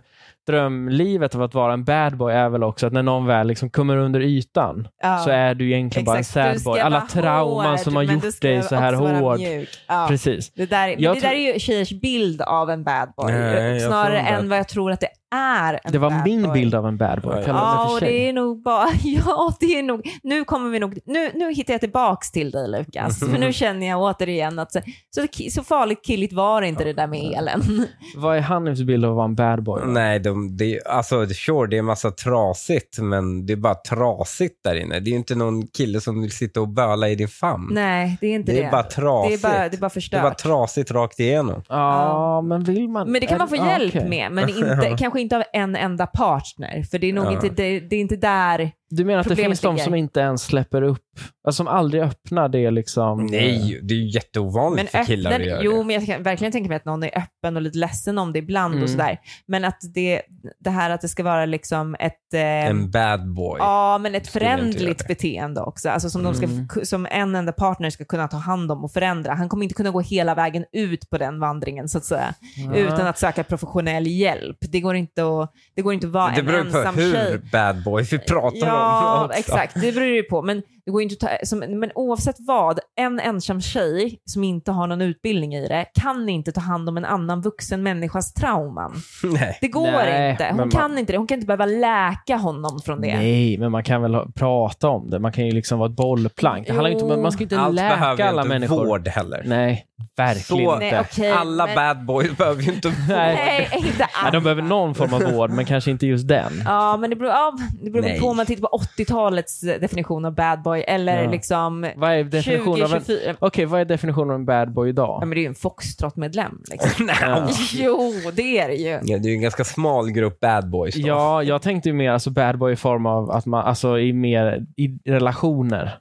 Speaker 3: drömlivet av att vara en bad boy är väl också att när någon väl liksom kommer under ytan
Speaker 1: Ja.
Speaker 3: så är du egentligen bara en
Speaker 1: Exakt.
Speaker 3: sad
Speaker 1: Du ska
Speaker 3: boy. Alla
Speaker 1: vara
Speaker 3: trauman
Speaker 1: hård,
Speaker 3: som har
Speaker 1: men du
Speaker 3: gjort
Speaker 1: ska
Speaker 3: dig så här
Speaker 1: också vara
Speaker 3: hård.
Speaker 1: mjuk. Ja.
Speaker 3: Precis.
Speaker 1: Det där, men
Speaker 3: Jag
Speaker 1: det där är ju tjejers bild av en bad boy.
Speaker 2: Nej, jag
Speaker 1: snarare
Speaker 2: tror inte
Speaker 1: än vad jag tror att det är en
Speaker 3: Det var
Speaker 1: bad
Speaker 3: min
Speaker 1: boy.
Speaker 3: bild av en bad boy.
Speaker 2: Ja,
Speaker 3: Kalla mig
Speaker 1: Ja,
Speaker 3: för
Speaker 1: och
Speaker 3: tjej.
Speaker 1: det är nog bara... Ja, det är nog... Nu kommer vi nog... Nu, nu hittar jag tillbaks till dig, Lukas. För nu känner jag återigen att så, så, så farligt killigt var inte det där med elen.
Speaker 3: Vad är Hanifs bild av att vara en bad boy?
Speaker 2: Nej, de, det, alltså sure, det är massa trasigt, men det är bara trasigt där inne. Det är ju inte någon kille som vill sitta och böla i din famn.
Speaker 1: Nej, det är inte
Speaker 2: det,
Speaker 1: det.
Speaker 2: är bara
Speaker 1: det,
Speaker 2: trasigt.
Speaker 1: är bara, det är bara förstört.
Speaker 2: trasigt rakt igenom.
Speaker 3: Ja, men vill man...
Speaker 1: men det
Speaker 3: är
Speaker 1: kan man få
Speaker 3: ja,
Speaker 1: hjälp
Speaker 3: okej.
Speaker 1: med, men inte, kanske inte av en enda partner. För det är nog
Speaker 2: Ja.
Speaker 1: inte, det, det är inte där...
Speaker 3: Du menar att det
Speaker 1: Problemet
Speaker 3: finns de
Speaker 1: ligger.
Speaker 3: som inte ens släpper upp, alltså som aldrig öppnar det liksom?
Speaker 2: Nej, det är ju jätteovanligt
Speaker 1: Men
Speaker 2: för killar att göra
Speaker 1: jo,
Speaker 2: det.
Speaker 1: men jag kan verkligen tänka mig att någon är öppen och lite ledsen om det ibland
Speaker 3: Mm.
Speaker 1: och sådär. Men att det, det här att det ska vara liksom ett... eh,
Speaker 2: En bad boy.
Speaker 1: Ja, men ett
Speaker 2: skulle jag inte
Speaker 1: förändligt
Speaker 2: göra.
Speaker 1: beteende också. Alltså som, de
Speaker 3: Mm.
Speaker 1: ska, som en enda partner ska kunna ta hand om och förändra. Han kommer inte kunna gå hela vägen ut på den vandringen så att säga,
Speaker 3: Ja.
Speaker 1: utan att söka professionell hjälp. Det går inte att, det går inte att vara
Speaker 2: det
Speaker 1: en
Speaker 2: beror ju på
Speaker 1: ensam
Speaker 2: hur
Speaker 1: tjej.
Speaker 2: bad boy vi pratar om.
Speaker 1: Ja,
Speaker 2: också.
Speaker 1: exakt. Det beror ju på. Men, det går ju inte att ta, som, men oavsett vad, en ensam tjej som inte har någon utbildning i det kan inte ta hand om en annan vuxen människas trauman.
Speaker 2: Nej.
Speaker 1: Det går
Speaker 3: Nej,
Speaker 1: inte. Hon
Speaker 3: men man-
Speaker 1: kan inte det. Hon kan inte behöva läka honom från det.
Speaker 3: Nej, men man kan väl ha, prata om det. Man kan ju liksom vara ett bollplank. Det handlar ju inte, om-
Speaker 1: Jo.
Speaker 3: man ska inte
Speaker 2: Allt
Speaker 3: läka
Speaker 2: behöver ju
Speaker 3: alla
Speaker 2: inte
Speaker 3: människor.
Speaker 2: vård heller.
Speaker 3: Nej, verkligen
Speaker 2: Så-
Speaker 3: inte.
Speaker 1: Nej, okej,
Speaker 2: Alla
Speaker 1: men-
Speaker 2: bad boys behöver ju inte vård.
Speaker 1: Nej, inte alla.
Speaker 3: Nej, de behöver någon form av vård, men kanske inte just den.
Speaker 1: Ja, men det beror, ja, det beror väl
Speaker 2: Nej.
Speaker 1: på om man tittar på 80-talets definition av bad boy eller
Speaker 3: Ja.
Speaker 1: liksom
Speaker 3: Vad är definitionen av en...
Speaker 1: 2024. Ja,
Speaker 3: Okej, vad är definitionen av en bad boy idag?
Speaker 1: men det är ju en foxtrot-medlem. Liksom.
Speaker 2: Nej.
Speaker 1: jo, det är det ju.
Speaker 2: Ja, det är ju en ganska smal grupp bad boys. Då.
Speaker 3: Ja, jag tänkte ju mer alltså bad boy i form av att man, alltså i mer i relationer.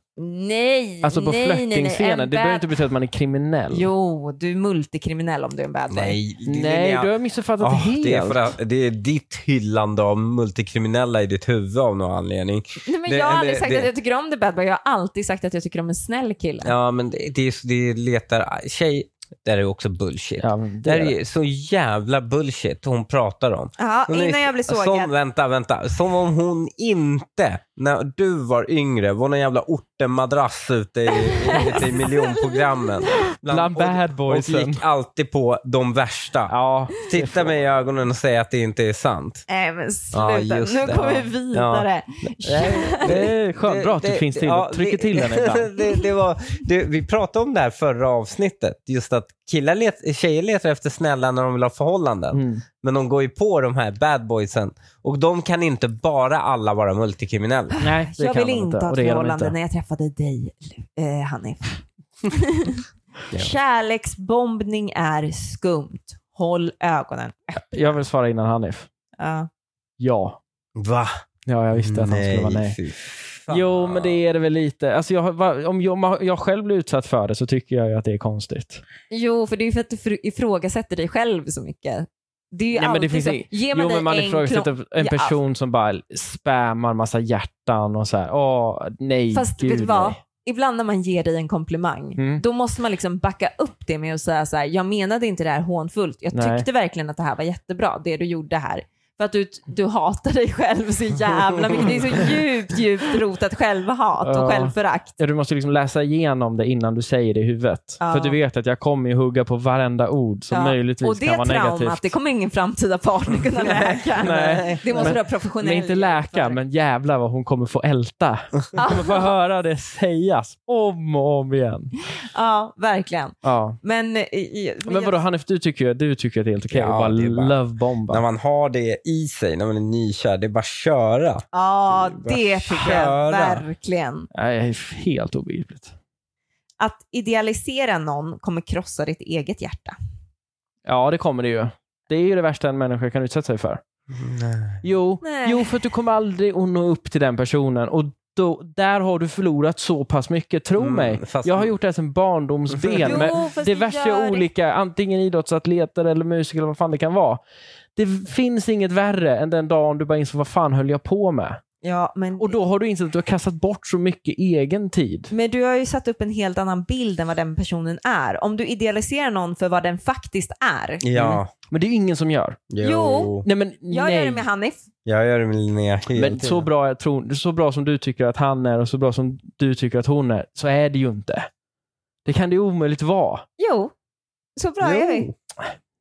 Speaker 1: Nej,
Speaker 3: Alltså på
Speaker 1: nej, nej, nej.
Speaker 3: flörtingscenen.
Speaker 1: En
Speaker 3: Det behöver
Speaker 1: bad-
Speaker 3: inte betyda att man är kriminell.
Speaker 1: Jo, du är multikriminell om du är en bad boy.
Speaker 2: Nej, det är
Speaker 3: Nej,
Speaker 2: Linnea.
Speaker 3: du har missuppfattat
Speaker 2: Ah,
Speaker 3: helt.
Speaker 2: det, är för att, det är ditt hyllande av multikriminella i ditt huvud av någon anledning.
Speaker 1: Nej, men
Speaker 2: Det-
Speaker 1: jag har aldrig
Speaker 2: det-
Speaker 1: sagt
Speaker 2: det-
Speaker 1: att jag tycker om the bad boy. Jag har alltid sagt att jag tycker om en snäll kille.
Speaker 2: Ja, men det, det, är- det letar... Tjej, där är också bullshit.
Speaker 3: Ja, men
Speaker 2: Det
Speaker 3: det är
Speaker 2: här
Speaker 3: det.
Speaker 2: är så jävla bullshit hon pratar om.
Speaker 1: Ja,
Speaker 2: Hon är-
Speaker 1: innan jag blir sågad.
Speaker 2: Som, vänta, vänta. Som om hon inte, när du var yngre, var någon jävla ortenmadrass ute i, i- ute i miljonprogrammen.
Speaker 3: Bland bad
Speaker 2: och, och
Speaker 3: boysen.
Speaker 2: gick alltid på de värsta.
Speaker 3: Ja,
Speaker 2: Titta mig i ögonen och säg att det inte är sant.
Speaker 1: Nej, men
Speaker 2: Ja,
Speaker 1: sluta.
Speaker 2: just
Speaker 1: nu
Speaker 2: det.
Speaker 1: kommer
Speaker 2: Ja.
Speaker 1: vi vidare.
Speaker 3: det är skönt. Bra att du finns till. Trycker till
Speaker 2: det,
Speaker 3: den ibland.
Speaker 2: det, det var, det, vi pratade om det här förra avsnittet. Just att killar let, tjejer letar efter snälla när de vill ha förhållanden.
Speaker 3: Mm.
Speaker 2: Men de går ju på de här bad boysen. Och de kan inte bara alla vara multikriminella.
Speaker 3: Nej, det
Speaker 1: Jag
Speaker 3: kan
Speaker 1: vill
Speaker 3: de
Speaker 1: inte ha
Speaker 3: och
Speaker 1: ett
Speaker 3: det är de
Speaker 1: förhållande
Speaker 3: inte.
Speaker 1: när jag träffade dig, eh, Hanif. Kärleksbombning är skumt. Håll ögonen.
Speaker 3: Jag vill svara innan Hanif.
Speaker 1: Ja.
Speaker 3: Ja.
Speaker 2: Va?
Speaker 3: Ja, jag visste att han skulle vara nej.
Speaker 2: fy fan.
Speaker 3: Jo, men det är det väl lite. Alltså jag, har- va- om jag, om jag själv blir utsatt för det så tycker jag ju att det är konstigt.
Speaker 1: Jo, för det är ju för att du fr- ifrågasätter dig själv så mycket. Det är ju
Speaker 3: Nej, men det
Speaker 1: alltid
Speaker 3: finns
Speaker 1: så.
Speaker 3: ing-
Speaker 1: Ge mig
Speaker 3: Jo,
Speaker 1: dig
Speaker 3: men man
Speaker 1: en klon-
Speaker 3: ifrågasätter en
Speaker 1: Ja.
Speaker 3: person som bara spammar massa hjärtan och så här. Åh, nej,
Speaker 1: Fast
Speaker 3: gud,
Speaker 1: vet du vad?
Speaker 3: nej.
Speaker 1: Ibland när man ger dig en komplimang,
Speaker 3: Mm.
Speaker 1: då måste man liksom backa upp det med att säga så här, jag menade inte det här hånfullt. Jag
Speaker 3: Nej.
Speaker 1: tyckte verkligen att det här var jättebra, det du gjorde här. För att du, du hatar dig själv så jävla mycket. Det är så djupt, djupt rotat självhat och
Speaker 3: Ja.
Speaker 1: självförakt.
Speaker 3: Ja, du måste liksom läsa igenom det innan du säger det i huvudet.
Speaker 1: Ja.
Speaker 3: För du vet att jag kommer ju hugga på varenda ord som
Speaker 1: Ja.
Speaker 3: möjligtvis
Speaker 1: och det
Speaker 3: kan vara
Speaker 1: traumat,
Speaker 3: negativt.
Speaker 1: det kommer ingen framtida partner kunna läka.
Speaker 3: Nej.
Speaker 1: Det måste
Speaker 3: Men-
Speaker 1: vara professionell
Speaker 3: Men inte
Speaker 1: hjälp
Speaker 3: läka,
Speaker 1: för.
Speaker 3: men jävla vad hon kommer få älta. Hon kommer få höra det sägas om och om igen.
Speaker 1: Ja, verkligen.
Speaker 3: Ja.
Speaker 1: Men, eh, i-
Speaker 3: Men vadå Hanif, du tycker ju du tycker att det är helt okej
Speaker 2: Ja,
Speaker 3: att bara
Speaker 2: det är bara-
Speaker 3: lovebomba.
Speaker 2: När man har det i sig, när man är nykär, det är bara att köra.
Speaker 1: Ja,
Speaker 2: Bara
Speaker 1: det tycker jag
Speaker 2: köra.
Speaker 1: verkligen.
Speaker 3: Nej, det är helt obegripligt.
Speaker 1: Att idealisera någon kommer krossa ditt eget hjärta.
Speaker 3: Ja, det kommer det ju. Det är ju det värsta en människa kan utsätta sig för. Jo,
Speaker 1: Nej.
Speaker 3: jo för att du kommer aldrig att nå upp till den personen. Och då, där har du förlorat så pass mycket, tro
Speaker 2: Mm,
Speaker 3: mig.
Speaker 2: fast-
Speaker 3: Jag har gjort det här sedan barndomsben
Speaker 1: Jo,
Speaker 3: med
Speaker 1: fast vi gör
Speaker 3: diverse
Speaker 1: det.
Speaker 3: olika, antingen idrottsatleter eller musiker eller vad fan det kan vara. Det finns inget värre än den dagen du bara inser vad fan höll jag på med?
Speaker 1: Ja, men,
Speaker 3: Och då har du insett att du har kastat bort så mycket egen tid.
Speaker 1: men du har ju satt upp en helt annan bild än vad den personen är. Om du idealiserar någon för vad den faktiskt är.
Speaker 2: Ja.
Speaker 3: Men det är ju ingen som gör.
Speaker 1: Jo.
Speaker 3: Nej, men
Speaker 1: Jag
Speaker 3: nej.
Speaker 1: gör det med Hanif.
Speaker 2: Jag gör det med Linnea hela
Speaker 3: Men så bra, jag tror, så bra som du tycker att han är och så bra som du tycker att hon är, så är det ju inte. Det kan det ju omöjligt vara.
Speaker 1: Jo, så bra är vi.
Speaker 2: Jo.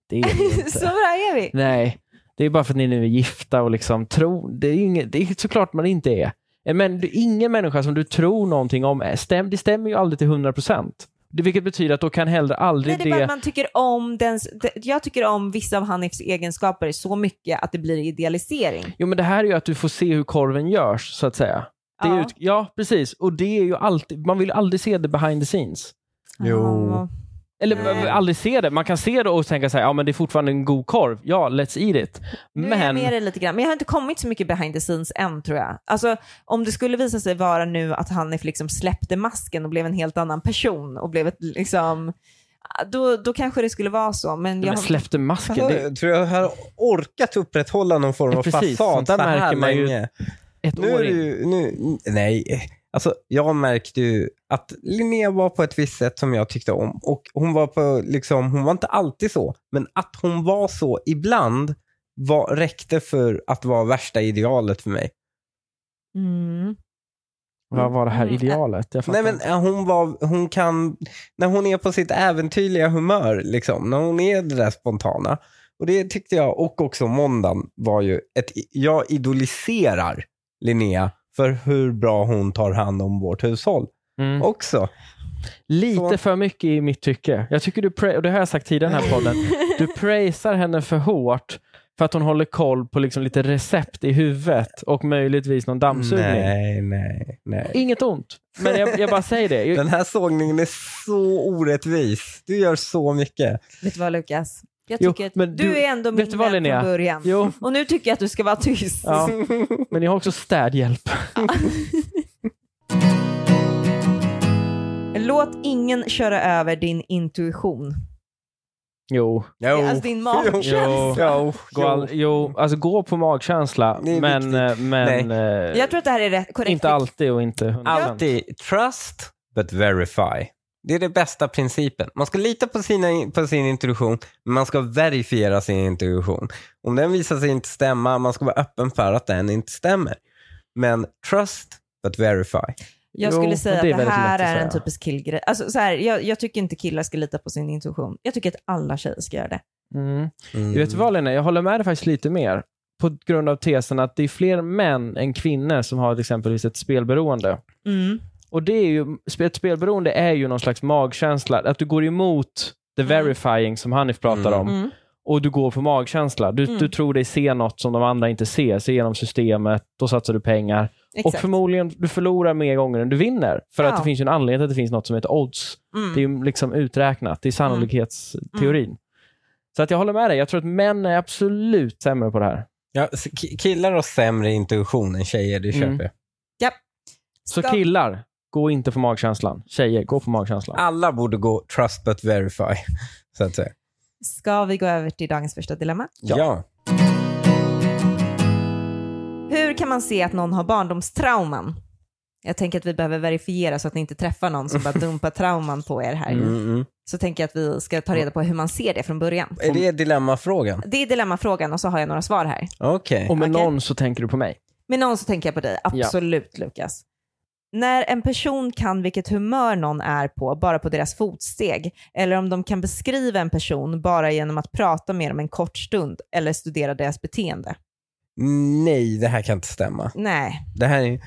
Speaker 3: Det är det ju
Speaker 1: så
Speaker 3: inte.
Speaker 1: bra är vi.
Speaker 3: Nej, det är bara för att ni nu är gifta och liksom tror. Det är, ju inget, det är ju såklart man inte är. Eh, Men du, ingen människa som du tror någonting om, är, stäm, det stämmer ju aldrig till 100 procent. Vilket betyder att då kan heller aldrig
Speaker 1: Nej,
Speaker 3: det...
Speaker 1: det är bara att man tycker om den, jag tycker om vissa av Hanifs egenskaper så mycket att det blir idealisering.
Speaker 3: Jo, men det här är ju att du får se hur korven görs, så att säga. Det är
Speaker 1: Ja.
Speaker 3: ja. Ut, ja, precis. Och det är ju alltid, man vill ju aldrig se det behind the scenes.
Speaker 2: Jo.
Speaker 1: Ja.
Speaker 3: Eller
Speaker 1: Nej.
Speaker 3: aldrig se det. Man kan se det och tänka så här, ja men det är fortfarande en god korv. Ja, let's eat it.
Speaker 1: Nu är jag
Speaker 3: Men,
Speaker 1: med dig lite grann, men jag har inte kommit så mycket behind the scenes än tror jag. Alltså om det skulle visa sig vara nu att Hanif liksom släppte masken och blev en helt annan person och blev ett liksom, då, då kanske det skulle vara så. Men jag
Speaker 3: men
Speaker 1: har-
Speaker 3: släppte masken.
Speaker 2: Hallå,
Speaker 3: Det är
Speaker 2: Jag tror jag har orkat upprätthålla någon form
Speaker 3: Ja,
Speaker 2: av
Speaker 3: precis.
Speaker 2: fasad
Speaker 3: Sånt där
Speaker 2: så här
Speaker 3: märker man ju
Speaker 2: länge.
Speaker 3: ett
Speaker 2: Nu
Speaker 3: år
Speaker 2: är
Speaker 3: in.
Speaker 2: du, nu, nej. Alltså, jag märkte ju att Linnea var på ett visst sätt som jag tyckte om. Och hon var, på, liksom, hon var inte alltid så, men att hon var så ibland var, räckte för att vara värsta idealet för mig.
Speaker 1: mm.
Speaker 3: Vad var det här
Speaker 1: Mm.
Speaker 3: idealet? Jag
Speaker 2: Nej,
Speaker 3: fattar
Speaker 2: men
Speaker 3: inte.
Speaker 2: eh, hon, var, hon kan, när hon är på sitt äventyrliga humör, liksom, när hon är det där spontana. Och det tyckte jag, och också måndagen var ju, ett, jag idoliserar Linnea för hur bra hon tar hand om vårt hushåll
Speaker 3: Mm.
Speaker 2: också.
Speaker 3: Lite
Speaker 2: så-
Speaker 3: för mycket i mitt tycke. Jag tycker du, pra- och det har jag sagt tidigare i den här podden, du praisar henne för hårt för att hon håller koll på liksom lite recept i huvudet och möjligtvis någon dammsugning.
Speaker 2: Nej, nej, nej.
Speaker 3: Inget ont, men jag, jag bara säger det. Jag,
Speaker 2: Den här sågningen är så orättvis. Du gör så mycket.
Speaker 1: Vet du vad Lukas? Jag
Speaker 3: Jo,
Speaker 1: tycker att
Speaker 3: men
Speaker 1: du,
Speaker 3: du-
Speaker 1: är ändå
Speaker 3: vet
Speaker 1: min
Speaker 3: du vad,
Speaker 1: vän
Speaker 3: Linnea?
Speaker 1: från början.
Speaker 3: jo,
Speaker 1: Och nu tycker jag att du ska vara tyst.
Speaker 3: ja. men jag har också städhjälp.
Speaker 1: Låt ingen köra över din intuition.
Speaker 3: Eh, Jo.
Speaker 2: Jo.
Speaker 1: Alltså din magkänsla.
Speaker 3: Jo.
Speaker 2: Jo.
Speaker 3: Gå, all,
Speaker 2: Jo.
Speaker 3: jo, alltså gå på magkänsla,
Speaker 2: Det är
Speaker 3: men, eh, men eh,
Speaker 1: Jag tror att det här är rätt, korrekt.
Speaker 3: inte alltid och inte 100%.
Speaker 2: Alltid trust but verify. Det är den bästa principen. Man ska lita på, sina, på sin intuition, men man ska verifiera sin intuition. Om den visar sig inte stämma, man ska vara öppen för att den inte stämmer. Men trust but verify.
Speaker 1: Jag
Speaker 3: Jo,
Speaker 1: skulle
Speaker 3: men
Speaker 1: säga
Speaker 3: det är
Speaker 1: att det
Speaker 3: väldigt
Speaker 1: här
Speaker 3: lätt att
Speaker 1: är en
Speaker 3: säga.
Speaker 1: typisk killgrej. Alltså, så här, jag, jag tycker inte killar ska lita på sin intuition. Jag tycker att alla tjejer ska göra det.
Speaker 3: Mm. Vet du vad Lena, jag håller med dig faktiskt lite mer. På grund av tesen att det är fler män än kvinnor som har till exempelvis ett spelberoende.
Speaker 1: Mm.
Speaker 3: Och det är ju, ett spelberoende är ju någon slags magkänsla. Att du går emot the
Speaker 1: Mm.
Speaker 3: verifying som Hanif pratar
Speaker 2: Mm.
Speaker 3: om.
Speaker 1: Mm.
Speaker 3: Och du går på magkänsla. Du,
Speaker 1: Mm.
Speaker 3: du tror dig se något som de andra inte ser. Se genom systemet, då satsar du pengar.
Speaker 1: Exakt.
Speaker 3: Och förmodligen, du förlorar mer gånger än du vinner. För
Speaker 1: Ja.
Speaker 3: att det finns ju en anledning till att det finns något som heter odds.
Speaker 1: mm.
Speaker 3: Det är ju liksom uträknat. Det är sannolikhetsteorin. Så att jag håller med dig. Jag tror att män är absolut sämre på det här.
Speaker 2: Ja, s- ki- killar har sämre intuition än tjejer, det
Speaker 3: Mm.
Speaker 2: köper jag.
Speaker 3: Så
Speaker 1: Ska-
Speaker 3: killar, gå inte på magkänslan. Tjejer, gå på magkänslan.
Speaker 1: Ah,
Speaker 2: Alla borde gå trust but verify, så att säga.
Speaker 1: Ska vi gå över till dagens första dilemma?
Speaker 2: Ja.
Speaker 1: Hur kan man se att någon har barndomstrauman? Jag tänker att vi behöver verifiera så att ni inte träffar någon som bara dumpar trauman på er här.
Speaker 2: Mm, mm.
Speaker 1: Så tänker jag att vi ska ta reda på hur man ser det från början.
Speaker 2: Är det dilemmafrågan?
Speaker 1: Det är dilemmafrågan och så har jag några svar här.
Speaker 2: Okej.
Speaker 3: Och med
Speaker 1: Okej.
Speaker 3: någon så tänker du på mig.
Speaker 1: Med någon så tänker jag på dig, absolut Lukas. När en person kan vilket humör någon är på bara på deras fotsteg eller om de kan beskriva en person bara genom att prata med dem en kort stund eller studera deras beteende.
Speaker 2: Nej, det här kan inte stämma.
Speaker 1: Nej,
Speaker 2: Det här är...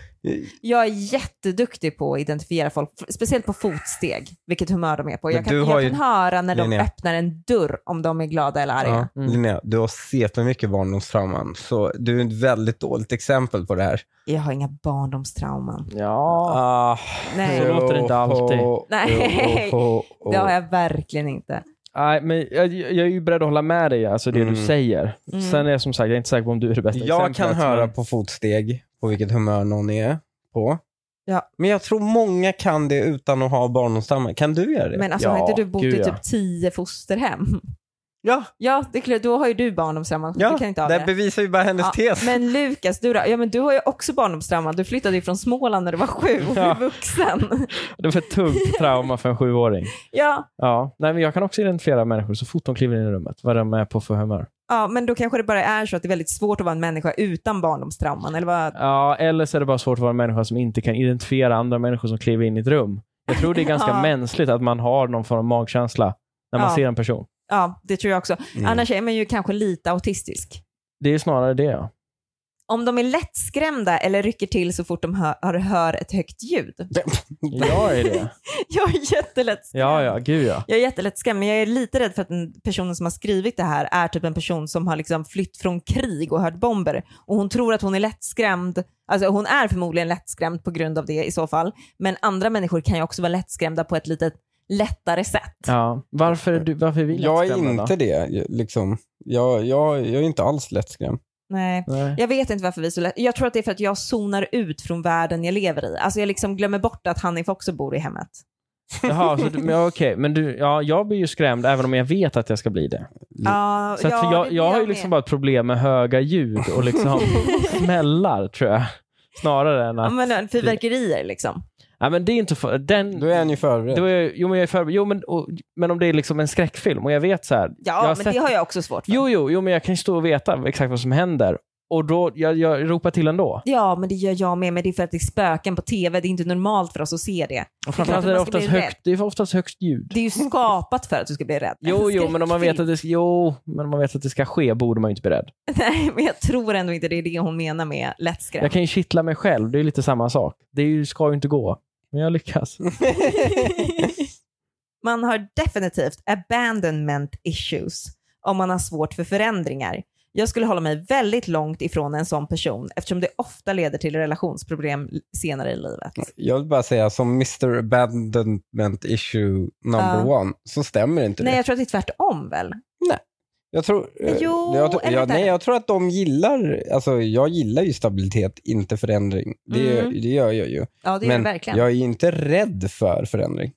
Speaker 1: jag är jätteduktig på att identifiera folk, f- speciellt på fotsteg, vilket humör de är på.
Speaker 2: Men
Speaker 1: Jag kan,
Speaker 2: du har
Speaker 1: jag
Speaker 2: ju-
Speaker 1: kan höra när de
Speaker 2: Linnea.
Speaker 1: öppnar en dörr om de är glada eller arga.
Speaker 2: Ja,
Speaker 3: Mm.
Speaker 2: Linnea, du har sett med mycket barndomstrauman, så du är ett väldigt dåligt exempel på det här.
Speaker 1: Jag har inga barndomstrauman.
Speaker 3: Ja.
Speaker 2: Ah,
Speaker 1: Nej. Så
Speaker 3: låter det inte alltid.
Speaker 1: Nej.
Speaker 2: oh, oh, oh.
Speaker 1: Det har jag verkligen inte.
Speaker 3: Nej, men jag, jag är ju beredd att hålla med dig, alltså det
Speaker 2: Mm.
Speaker 3: du säger.
Speaker 1: Mm.
Speaker 3: Sen är jag som sagt jag är inte säker på om du är det bästa
Speaker 2: Jag
Speaker 3: exemplet.
Speaker 2: kan höra
Speaker 3: men-
Speaker 2: på fotsteg på vilket humör någon är på.
Speaker 1: Ja.
Speaker 2: Men jag tror många kan det utan att ha barndomstrauman. Kan du göra det?
Speaker 1: Men alltså
Speaker 3: Ja,
Speaker 1: har inte du bott
Speaker 3: gud,
Speaker 1: i
Speaker 3: ja.
Speaker 1: typ tio fosterhem?
Speaker 2: ja,
Speaker 1: Ja, det är klart, då har ju du barndomstrauma.
Speaker 2: ja.
Speaker 1: du kan inte ha
Speaker 2: det
Speaker 1: det.
Speaker 2: bevisar ju bara hennes
Speaker 1: Ja,
Speaker 2: tes.
Speaker 1: men Lukas, du, då? ja, men du har ju också barndomstrauma. Du flyttade ju från Småland när du var sju och
Speaker 3: Ja.
Speaker 1: blev vuxen.
Speaker 3: Det var ett tungt trauma för en sjuåring.
Speaker 1: Ja,
Speaker 3: Ja. Nej, men jag kan också identifiera människor så fort de kliver in i rummet, vad de är på för humör.
Speaker 1: ja, men då kanske det bara är så att det är väldigt svårt att vara en människa utan barndomstrauman. Eller vad?
Speaker 3: Ja, eller så är det bara svårt att vara en människa som inte kan identifiera andra människor som kliver in i ett rum. Jag tror det är ganska
Speaker 1: Ja.
Speaker 3: mänskligt att man har någon form av magkänsla när man
Speaker 1: Ja.
Speaker 3: ser en person.
Speaker 1: Ja, det tror jag också.
Speaker 2: Mm.
Speaker 1: Annars är man ju kanske lite autistisk.
Speaker 3: Det är snarare det, ja.
Speaker 1: Om de är lättskrämda eller rycker till så fort de hör, hör, hör ett högt ljud.
Speaker 3: Jag är det.
Speaker 1: Jag är jättelättskrämd.
Speaker 3: Ja, ja, gud ja.
Speaker 1: Jag är jättelättskrämd, men jag är lite rädd för att den personen som har skrivit det här är typ en person som har liksom flytt från krig och hört bomber. Och hon tror att hon är lättskrämd, alltså hon är förmodligen lättskrämd på grund av det i så fall. Men andra människor kan ju också vara lättskrämda på ett lite lättare sätt.
Speaker 3: ja. Varför, är du, varför är vi
Speaker 2: jag är
Speaker 3: lättskrämda
Speaker 2: inte det. jag- Liksom. Jag, jag, jag är inte alls lättskrämd.
Speaker 1: Nej.
Speaker 3: då? Nej.
Speaker 1: Jag vet inte varför vi är så lätt. Jag tror att det är för att jag zonar ut från världen jag lever i. Alltså jag liksom glömmer bort att Hanif också bor i hemmet.
Speaker 3: Jaha, så du, men, ja, okej. Men du, ja, jag blir ju skrämd även om jag vet att jag ska bli det.
Speaker 1: Ja,
Speaker 3: Så att, för
Speaker 1: det
Speaker 3: jag,
Speaker 1: blir
Speaker 3: jag har ju
Speaker 1: med.
Speaker 3: liksom bara ett problem med höga ljud och liksom smällar, tror jag. Snarare än
Speaker 1: Ja,
Speaker 3: att...
Speaker 1: men äh, fyrverkerier liksom.
Speaker 3: Ja, men det är inte för, den,
Speaker 2: Då är han ju förberedd.
Speaker 3: Det var ju, jo, men jag är förberedd. Jo, men, och, men om det är liksom en skräckfilm och jag vet så här. jag
Speaker 1: Ja,
Speaker 3: har
Speaker 1: men
Speaker 3: sett-
Speaker 1: det har jag också svårt för.
Speaker 3: Jo, jo, jo, men jag kan ju stå och veta exakt vad som händer. Och då, jag, jag ropar till ändå.
Speaker 1: Ja, men det gör jag med. Men det är för att det är spöken på tv. Det är inte normalt för oss att se det.
Speaker 3: Och
Speaker 1: klart att
Speaker 3: framförallt är det
Speaker 1: man ska
Speaker 3: oftast
Speaker 1: bli
Speaker 3: högt, det är oftast högt ljud.
Speaker 1: Det är ju skapat för att du ska bli rädd.
Speaker 3: Jo,
Speaker 1: En
Speaker 3: jo, men om man vet att det, ska- jo, men om man vet att det ska ske borde man ju inte bli rädd.
Speaker 1: skräckfilm. Nej, men jag tror ändå inte det är det hon menar med lättskrämd.
Speaker 3: Jag kan ju kittla mig själv, det är lite samma sak. Det är ju, ska ju inte gå. Men jag lyckas.
Speaker 1: Mm. man har definitivt abandonment issues om man har svårt för förändringar. Jag skulle hålla mig väldigt långt ifrån en sån person eftersom det ofta leder till relationsproblem senare i livet.
Speaker 2: Jag vill bara säga, som Mr. Abandonment Issue number
Speaker 1: Ja.
Speaker 2: one, så stämmer inte
Speaker 1: Nej,
Speaker 2: det.
Speaker 1: jag tror att det är tvärtom väl?
Speaker 2: Jag tror, eh,
Speaker 1: Jo,
Speaker 2: jag, tror-
Speaker 1: eller
Speaker 2: jag,
Speaker 1: vänta.
Speaker 2: nej, jag tror att de gillar, alltså jag gillar ju stabilitet, inte förändring. Det,
Speaker 1: Mm.
Speaker 2: det gör jag ju.
Speaker 1: Ja, det är
Speaker 2: Men
Speaker 1: det verkligen.
Speaker 2: jag är ju inte rädd för förändring.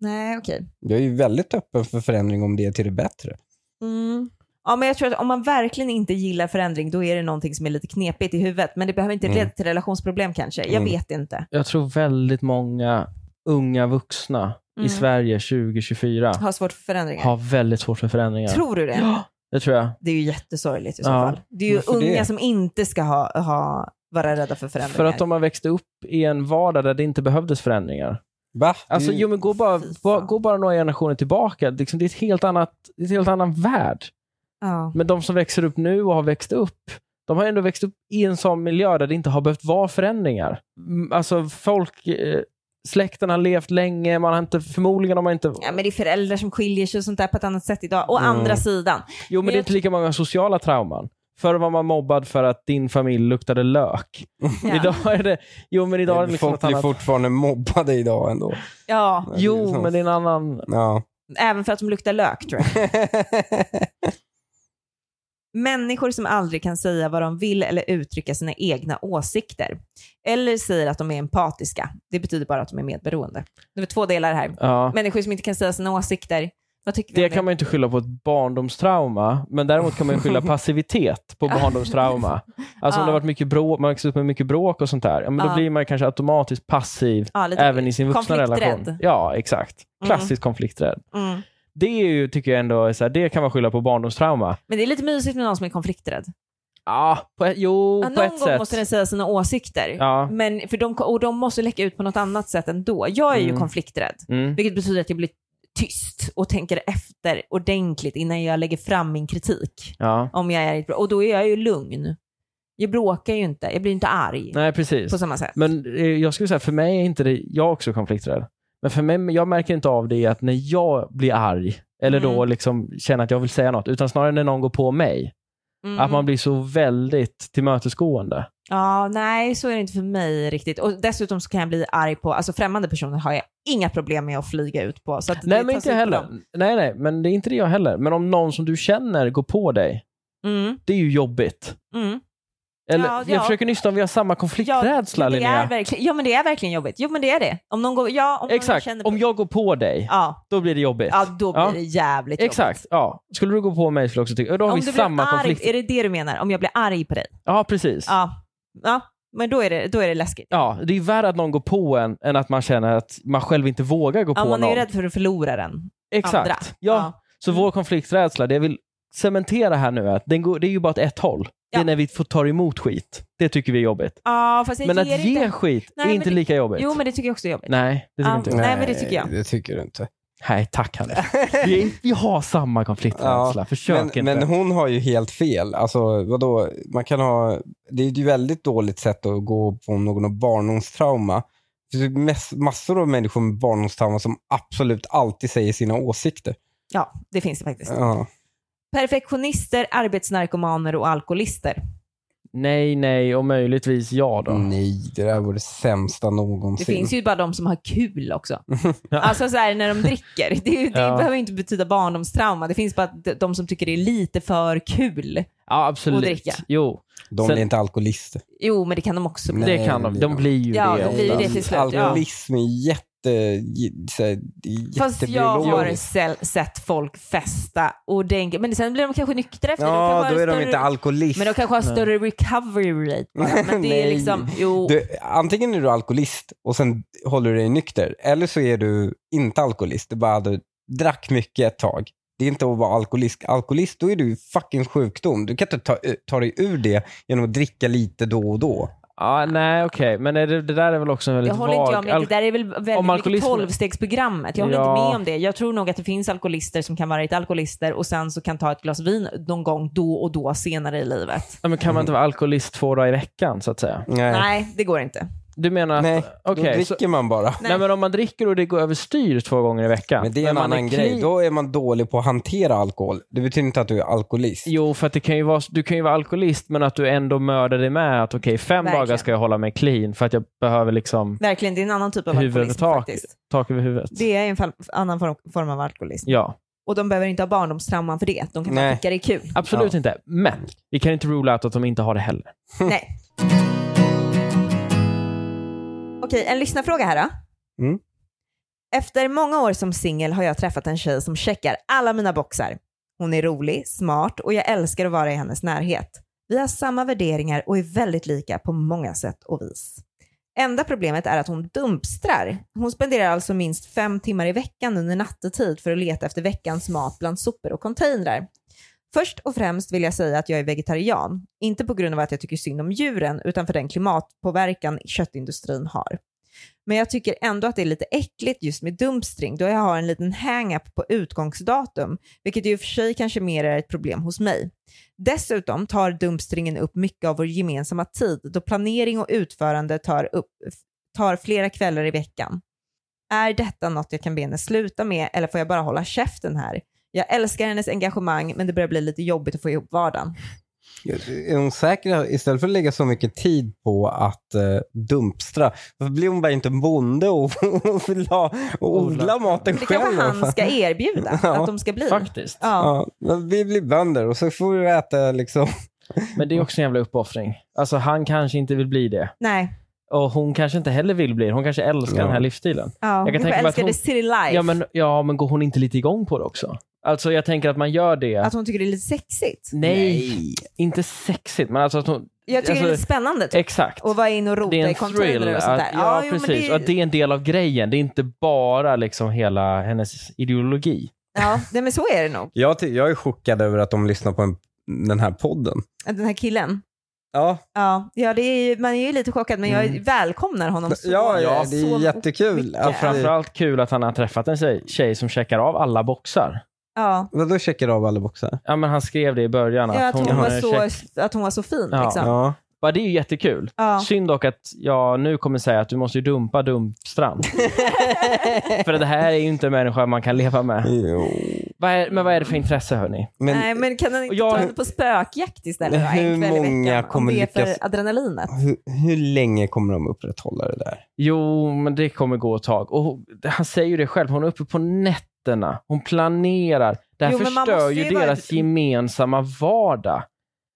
Speaker 1: Nej, okej.
Speaker 2: Jag är ju väldigt öppen för förändring om det är till det bättre.
Speaker 1: Mm. Ja, men jag tror att om man verkligen inte gillar förändring, då är det någonting som är lite knepigt i huvudet. Men det behöver inte
Speaker 2: Mm.
Speaker 1: leda till relationsproblem kanske. Jag
Speaker 2: Mm.
Speaker 1: vet inte.
Speaker 3: Jag tror väldigt många unga vuxna
Speaker 1: Mm.
Speaker 3: i Sverige 2024
Speaker 1: Har svårt för förändringar.
Speaker 3: har väldigt svårt för förändringar.
Speaker 1: Tror du det?
Speaker 3: Det tror jag.
Speaker 1: Det är ju jättesorgligt i så
Speaker 3: Ja.
Speaker 1: fall. Det är ju
Speaker 2: Varför det?
Speaker 1: unga som inte ska ha, ha, vara rädda för förändringar.
Speaker 3: För att de har växt upp i en vardag där det inte behövdes förändringar.
Speaker 2: Va?
Speaker 3: Alltså,
Speaker 2: Det-
Speaker 3: jo, men gå, bara,
Speaker 1: Mm. Fy
Speaker 3: bara,
Speaker 1: fan.
Speaker 3: gå bara några generationer tillbaka. Liksom, det är ett helt annat, det är ett helt annan värld.
Speaker 1: ja.
Speaker 3: Men de som växer upp nu och har växt upp, de har ändå växt upp i en sån miljö där det inte har behövt vara förändringar. Mm, Alltså folk, eh, släkten har levt länge, man har inte, förmodligen har man inte...
Speaker 1: ja, men det är föräldrar som skiljer sig och sånt där på ett annat sätt idag. Å
Speaker 2: Mm.
Speaker 1: andra sidan.
Speaker 3: Jo, men
Speaker 1: men
Speaker 3: det är
Speaker 1: jag-
Speaker 3: inte lika många sociala trauman. Förr var man mobbad för att din familj luktade lök.
Speaker 1: Ja.
Speaker 3: Idag är det... Jo, men idag är det liksom
Speaker 2: Folk
Speaker 3: något
Speaker 2: blir
Speaker 3: annat.
Speaker 2: fortfarande mobbade idag ändå.
Speaker 1: ja,
Speaker 3: Jo, men det är en annan...
Speaker 2: Ja.
Speaker 1: även för att de luktar lök tror jag. Människor som aldrig kan säga vad de vill eller uttrycka sina egna åsikter. Eller säger att de är empatiska. Det betyder bara att de är medberoende. Det var två delar här.
Speaker 3: Ja.
Speaker 1: Människor som inte kan säga sina åsikter. Vad tycker vi
Speaker 3: Det
Speaker 1: om
Speaker 3: kan man ju inte skylla på ett barndomstrauma, men däremot kan man ju skylla passivitet på barndomstrauma. Alltså om det
Speaker 1: Ja.
Speaker 3: har varit mycket bråk, man har växt upp med mycket bråk och sånt där, ja, men då
Speaker 1: Ja.
Speaker 3: blir man ju kanske automatiskt passiv
Speaker 1: Ja, lite
Speaker 3: även i sin vuxna relation.
Speaker 1: konflikträdd.
Speaker 3: Ja, exakt. Klassiskt konflikträdd.
Speaker 1: Mm.
Speaker 3: Det är ju, tycker jag ändå, är så här, det kan man skylla på barndomstrauma.
Speaker 1: Men det är lite mysigt med någon som är konflikträdd.
Speaker 3: Ja, på ett, jo,
Speaker 1: Ja,
Speaker 3: på
Speaker 1: någon
Speaker 3: ett
Speaker 1: gång
Speaker 3: sätt.
Speaker 1: måste den säga sina åsikter.
Speaker 3: Ja.
Speaker 1: Men, för de, och de måste läcka ut på något annat sätt ändå. Jag är ju
Speaker 3: Mm.
Speaker 1: konflikträdd,
Speaker 3: Mm.
Speaker 1: vilket betyder att jag blir tyst och tänker efter ordentligt innan jag lägger fram min kritik.
Speaker 3: ja.
Speaker 1: Om jag är, i ett brå- och då är jag ju lugn. Jag bråkar ju inte, jag blir inte arg
Speaker 3: Nej, precis.
Speaker 1: på samma sätt.
Speaker 3: Men eh, jag skulle säga, för mig är inte det, jag är också konflikträdd. Men för mig, jag märker inte av det i att när jag blir arg, eller då
Speaker 1: Mm.
Speaker 3: liksom känner att jag vill säga något, utan snarare när någon går på mig.
Speaker 1: Mm.
Speaker 3: Att man blir så väldigt tillmötesgående.
Speaker 1: Ja, nej, så är det inte för mig riktigt. Och dessutom så kan jag bli arg på, alltså främmande personer har jag inga problem med att flyga ut på. Så att det
Speaker 3: Nej, men
Speaker 1: tas
Speaker 3: inte
Speaker 1: ut
Speaker 3: jag
Speaker 1: på
Speaker 3: heller.
Speaker 1: dem.
Speaker 3: Nej, nej, men det är inte det jag heller. Men om någon som du känner går på dig,
Speaker 1: Mm,
Speaker 3: det är ju jobbigt.
Speaker 1: mm.
Speaker 3: Eller,
Speaker 1: Ja,
Speaker 3: jag
Speaker 1: ja.
Speaker 3: försöker nysta om vi har samma konflikträdsla,
Speaker 1: ja, det är
Speaker 3: Linnea.
Speaker 1: verkligen, Ja, men det är verkligen jobbigt. Jo, men det är det. Om någon går, ja, om någon
Speaker 3: Exakt.
Speaker 1: känner på-
Speaker 3: Om jag går på dig,
Speaker 1: Ja,
Speaker 3: då blir det jobbigt.
Speaker 1: ja då blir
Speaker 3: Ja.
Speaker 1: det jävligt
Speaker 3: Exakt. Ja. Skulle du gå på mig skulle jag också tycka... Då har
Speaker 1: jobbigt.
Speaker 3: vi
Speaker 1: Om du
Speaker 3: samma
Speaker 1: blir arg,
Speaker 3: konflikt.
Speaker 1: är det det du menar? Om jag blir arg på dig?
Speaker 3: Ja, precis.
Speaker 1: Ja, ja men då är det, då är det läskigt.
Speaker 3: Ja, det är värre att någon går på en än att man känner att man själv inte vågar gå
Speaker 1: Ja,
Speaker 3: på
Speaker 1: man är
Speaker 3: någon.
Speaker 1: ju rädd för att förlora den
Speaker 3: Exakt.
Speaker 1: andra. Mm.
Speaker 3: Ja. Så vår konflikträdsla, det jag vill cementera här nu är att den går, det är ju bara åt ett håll. Det är
Speaker 1: Ja.
Speaker 3: när vi får ta emot skit. Det tycker vi är jobbigt.
Speaker 1: ja fast jag
Speaker 3: Men
Speaker 1: ger
Speaker 3: att ge
Speaker 1: inte.
Speaker 3: skit
Speaker 1: Nej,
Speaker 3: är
Speaker 1: men
Speaker 3: inte
Speaker 1: det-
Speaker 3: lika jobbigt.
Speaker 1: Jo, men det tycker jag också är jobbigt.
Speaker 3: Nej, det tycker
Speaker 1: Ja.
Speaker 3: inte jag.
Speaker 1: Nej. men det tycker jag.
Speaker 2: Det tycker du inte.
Speaker 3: Nej, tack Hannes. Vi, är- vi har samma konflikträdsla.
Speaker 2: Men,
Speaker 3: Försök inte.
Speaker 2: men hon har ju helt fel. Alltså, vadå? Man kan ha, det är ju ett väldigt dåligt sätt att gå på någon barndomstrauma. Det finns ju mess- massor av människor med barndomstrauma som absolut alltid säger sina åsikter.
Speaker 1: Ja, det finns det faktiskt.
Speaker 2: Ja.
Speaker 1: Perfektionister, arbetsnarkomaner och alkoholister.
Speaker 3: Nej, nej och möjligtvis ja då.
Speaker 2: Nej, det där var det sämsta
Speaker 1: Det
Speaker 2: någonsin.
Speaker 1: finns ju bara de som har kul också. Alltså så här, när de dricker. Det, är ju- det
Speaker 3: Ja.
Speaker 1: behöver inte betyda barndomstrauma. Det finns bara de- de som tycker det är lite för kul.
Speaker 3: Ja,
Speaker 1: Och
Speaker 3: absolut.
Speaker 1: dricka.
Speaker 3: Jo,
Speaker 2: De
Speaker 3: Sen-
Speaker 2: blir inte alkoholister.
Speaker 1: Jo, men det kan de också bli.
Speaker 2: Nej,
Speaker 3: det kan de.
Speaker 2: det
Speaker 3: De
Speaker 2: blir-
Speaker 3: blir ju
Speaker 1: Ja,
Speaker 3: det.
Speaker 1: det blir ju det
Speaker 3: oftast.
Speaker 1: till slut. Ja.
Speaker 2: Alkoholism är jätte, j- så här, det är
Speaker 1: Fast jag har
Speaker 2: jättebiologiskt.
Speaker 1: sel- sett folk festa ordentligt. Men sen blir de kanske nyktra efter. De kanske
Speaker 2: Ja,
Speaker 1: har
Speaker 2: då är de
Speaker 1: större-
Speaker 2: inte alkoholister.
Speaker 1: Men de kanske har större recovery rate. bara. Men det är
Speaker 2: Nej.
Speaker 1: liksom, jo.
Speaker 2: Du, antingen är du alkoholist och sen håller du dig nykter, eller så är du inte alkoholist. Du bara du drack mycket ett tag. Det är inte att vara alkoholist. Alkoholist, då är du ju fucking sjukdom. Du kan inte ta, eh, ta dig ur det genom att dricka lite då och då.
Speaker 3: Ja, nej, okej. Men är det, det där är väl också en väldigt
Speaker 1: Jag håller inte
Speaker 3: vag...
Speaker 1: jag med. Det
Speaker 3: al-
Speaker 1: där är väl
Speaker 3: Om
Speaker 1: väldigt mycket
Speaker 3: alkoholism-
Speaker 1: tolvstegsprogrammet. Jag håller
Speaker 3: Ja.
Speaker 1: inte med om det. Jag tror nog att det finns alkoholister som kan vara riktigt alkoholister och sen så kan ta ett glas vin någon gång då och då senare i livet.
Speaker 3: Ja, men kan man inte vara alkoholist två dagar i veckan, så att säga?
Speaker 2: Nej, nej,
Speaker 1: Nej, det går inte.
Speaker 3: Du menar att...
Speaker 2: då
Speaker 3: okej,
Speaker 2: dricker
Speaker 3: så,
Speaker 2: man bara.
Speaker 3: nej. men om man dricker och det går överstyr två gånger i veckan.
Speaker 2: Men det är en
Speaker 3: man
Speaker 2: annan
Speaker 3: kli-
Speaker 2: grej. Då är man dålig på att hantera alkohol. Det betyder inte att du är alkoholist.
Speaker 3: Jo, för att det kan ju vara, du kan ju vara alkoholist, men att du ändå mördar dig med att okej, fem
Speaker 1: Verkligen.
Speaker 3: dagar ska jag hålla mig clean för att jag behöver liksom
Speaker 1: Verkligen, det är en annan typ av
Speaker 3: huvudet
Speaker 1: alkoholism
Speaker 3: tak,
Speaker 1: faktiskt.
Speaker 3: tak över huvudet.
Speaker 1: Det är en fall, annan form, form av alkoholism.
Speaker 3: Ja,
Speaker 1: Och de behöver inte ha barndomstrauman för det. De kan
Speaker 2: Nej.
Speaker 1: bara tycka det är kul.
Speaker 3: absolut
Speaker 2: Ja.
Speaker 3: inte. Men vi kan inte rule out att de inte har det heller.
Speaker 1: Nej. Okej, en lyssnarfråga här då.
Speaker 2: Mm.
Speaker 1: Efter många år som singel har jag träffat en tjej som checkar alla mina boxar. Hon är rolig, smart och jag älskar att vara i hennes närhet. Vi har samma värderingar och är väldigt lika på många sätt och vis. Enda problemet är att hon dumpstrar. Hon spenderar alltså minst fem timmar i veckan under nattetid för att leta efter veckans mat bland sopor och containrar. Först och främst vill jag säga att jag är vegetarian, inte på grund av att jag tycker synd om djuren utan för den klimatpåverkan köttindustrin har. Men jag tycker ändå att det är lite äckligt just med dumpstring då jag har en liten hang-up på utgångsdatum, vilket i och för sig kanske mer är ett problem hos mig. Dessutom tar dumpstringen upp mycket av vår gemensamma tid då planering och utförande tar, upp, tar flera kvällar i veckan. Är detta något jag kan be henne sluta med eller får jag bara hålla käften här? Jag älskar hennes engagemang men det börjar bli lite jobbigt att få ihop vardagen.
Speaker 2: Är hon säker, istället för att lägga så mycket tid på att eh, dumpstra, varför blir hon bara inte en bonde och, och, odla, och odla
Speaker 3: Odla.
Speaker 2: maten
Speaker 1: Det
Speaker 2: själv?
Speaker 1: kanske han ska erbjuda
Speaker 2: Ja,
Speaker 1: att de ska bli.
Speaker 3: Faktiskt.
Speaker 1: Ja.
Speaker 2: Ja, men vi blir bönder och så får vi äta liksom.
Speaker 3: Men det är också en jävla uppoffring. Alltså han kanske inte vill bli det.
Speaker 1: Nej.
Speaker 3: Och hon kanske inte heller vill bli det. Hon kanske älskar
Speaker 2: Ja.
Speaker 3: den här livsstilen.
Speaker 1: Ja,
Speaker 3: Jag kan
Speaker 1: jag
Speaker 3: tänka mig att
Speaker 1: älskade
Speaker 3: hon-
Speaker 1: City Life.
Speaker 3: Ja men, ja, men går hon inte lite igång på det också? Alltså jag tänker att man gör det.
Speaker 1: Att hon tycker det är lite sexigt.
Speaker 3: nej, inte sexigt, men alltså att hon...
Speaker 1: Jag tycker det är
Speaker 3: Alltså,
Speaker 1: lite spännande typ,
Speaker 3: Exakt.
Speaker 1: att vara inne och
Speaker 3: Det är
Speaker 1: rota i
Speaker 3: en
Speaker 1: containrar
Speaker 3: thrill.
Speaker 1: och
Speaker 3: Att,
Speaker 1: sånt där.
Speaker 3: ja,
Speaker 1: jo, men
Speaker 3: precis. Och att
Speaker 1: det...
Speaker 3: det är en del av grejen. Det är inte bara liksom hela hennes ideologi.
Speaker 1: Ja, nej, men så är det nog.
Speaker 2: Jag, ty- jag är chockad över att de lyssnar på en, den här podden.
Speaker 1: Att Den här killen.
Speaker 2: Ja,
Speaker 1: Ja, ja det är, ju- man är ju lite chockad men
Speaker 3: Mm.
Speaker 1: jag välkomnar honom så
Speaker 2: ja, ja det
Speaker 1: så-
Speaker 2: är jättekul.
Speaker 1: mycket.
Speaker 2: Att vi,
Speaker 3: Framförallt kul att han har träffat en tjej, tjej som checkar av alla boxar.
Speaker 1: Ja.
Speaker 2: vadå checkar av alla boxar?
Speaker 3: Ja, men han skrev det i början.
Speaker 1: Ja, att, hon
Speaker 3: har
Speaker 1: var
Speaker 3: en
Speaker 1: så,
Speaker 3: check-
Speaker 1: att hon var så fin.
Speaker 3: Ja.
Speaker 1: Liksom. Ja.
Speaker 2: Ja.
Speaker 3: Ja, det är ju jättekul. Synd dock att jag nu kommer säga att du måste ju dumpa Dumpstrand. för det här är ju inte en människa man kan leva med.
Speaker 2: Jo.
Speaker 3: Vad är, men vad är det för intresse hörni?
Speaker 2: Men
Speaker 1: Nej, men kan han inte
Speaker 3: Och jag-
Speaker 1: ta henne på spökjakt istället? då, en
Speaker 2: Hur
Speaker 1: kväll i
Speaker 2: många
Speaker 1: veckan,
Speaker 2: kommer
Speaker 1: om det är för
Speaker 2: lyckas-
Speaker 1: adrenalinet?
Speaker 2: hur, hur länge kommer de upprätthålla det där?
Speaker 3: Jo, men det kommer gå ett tag. Och han säger ju det själv, hon är uppe på nätterna. Hon planerar. Det här
Speaker 1: Jo, men man
Speaker 3: förstör
Speaker 1: måste
Speaker 3: ju
Speaker 1: ju vara-
Speaker 3: deras gemensamma vardag.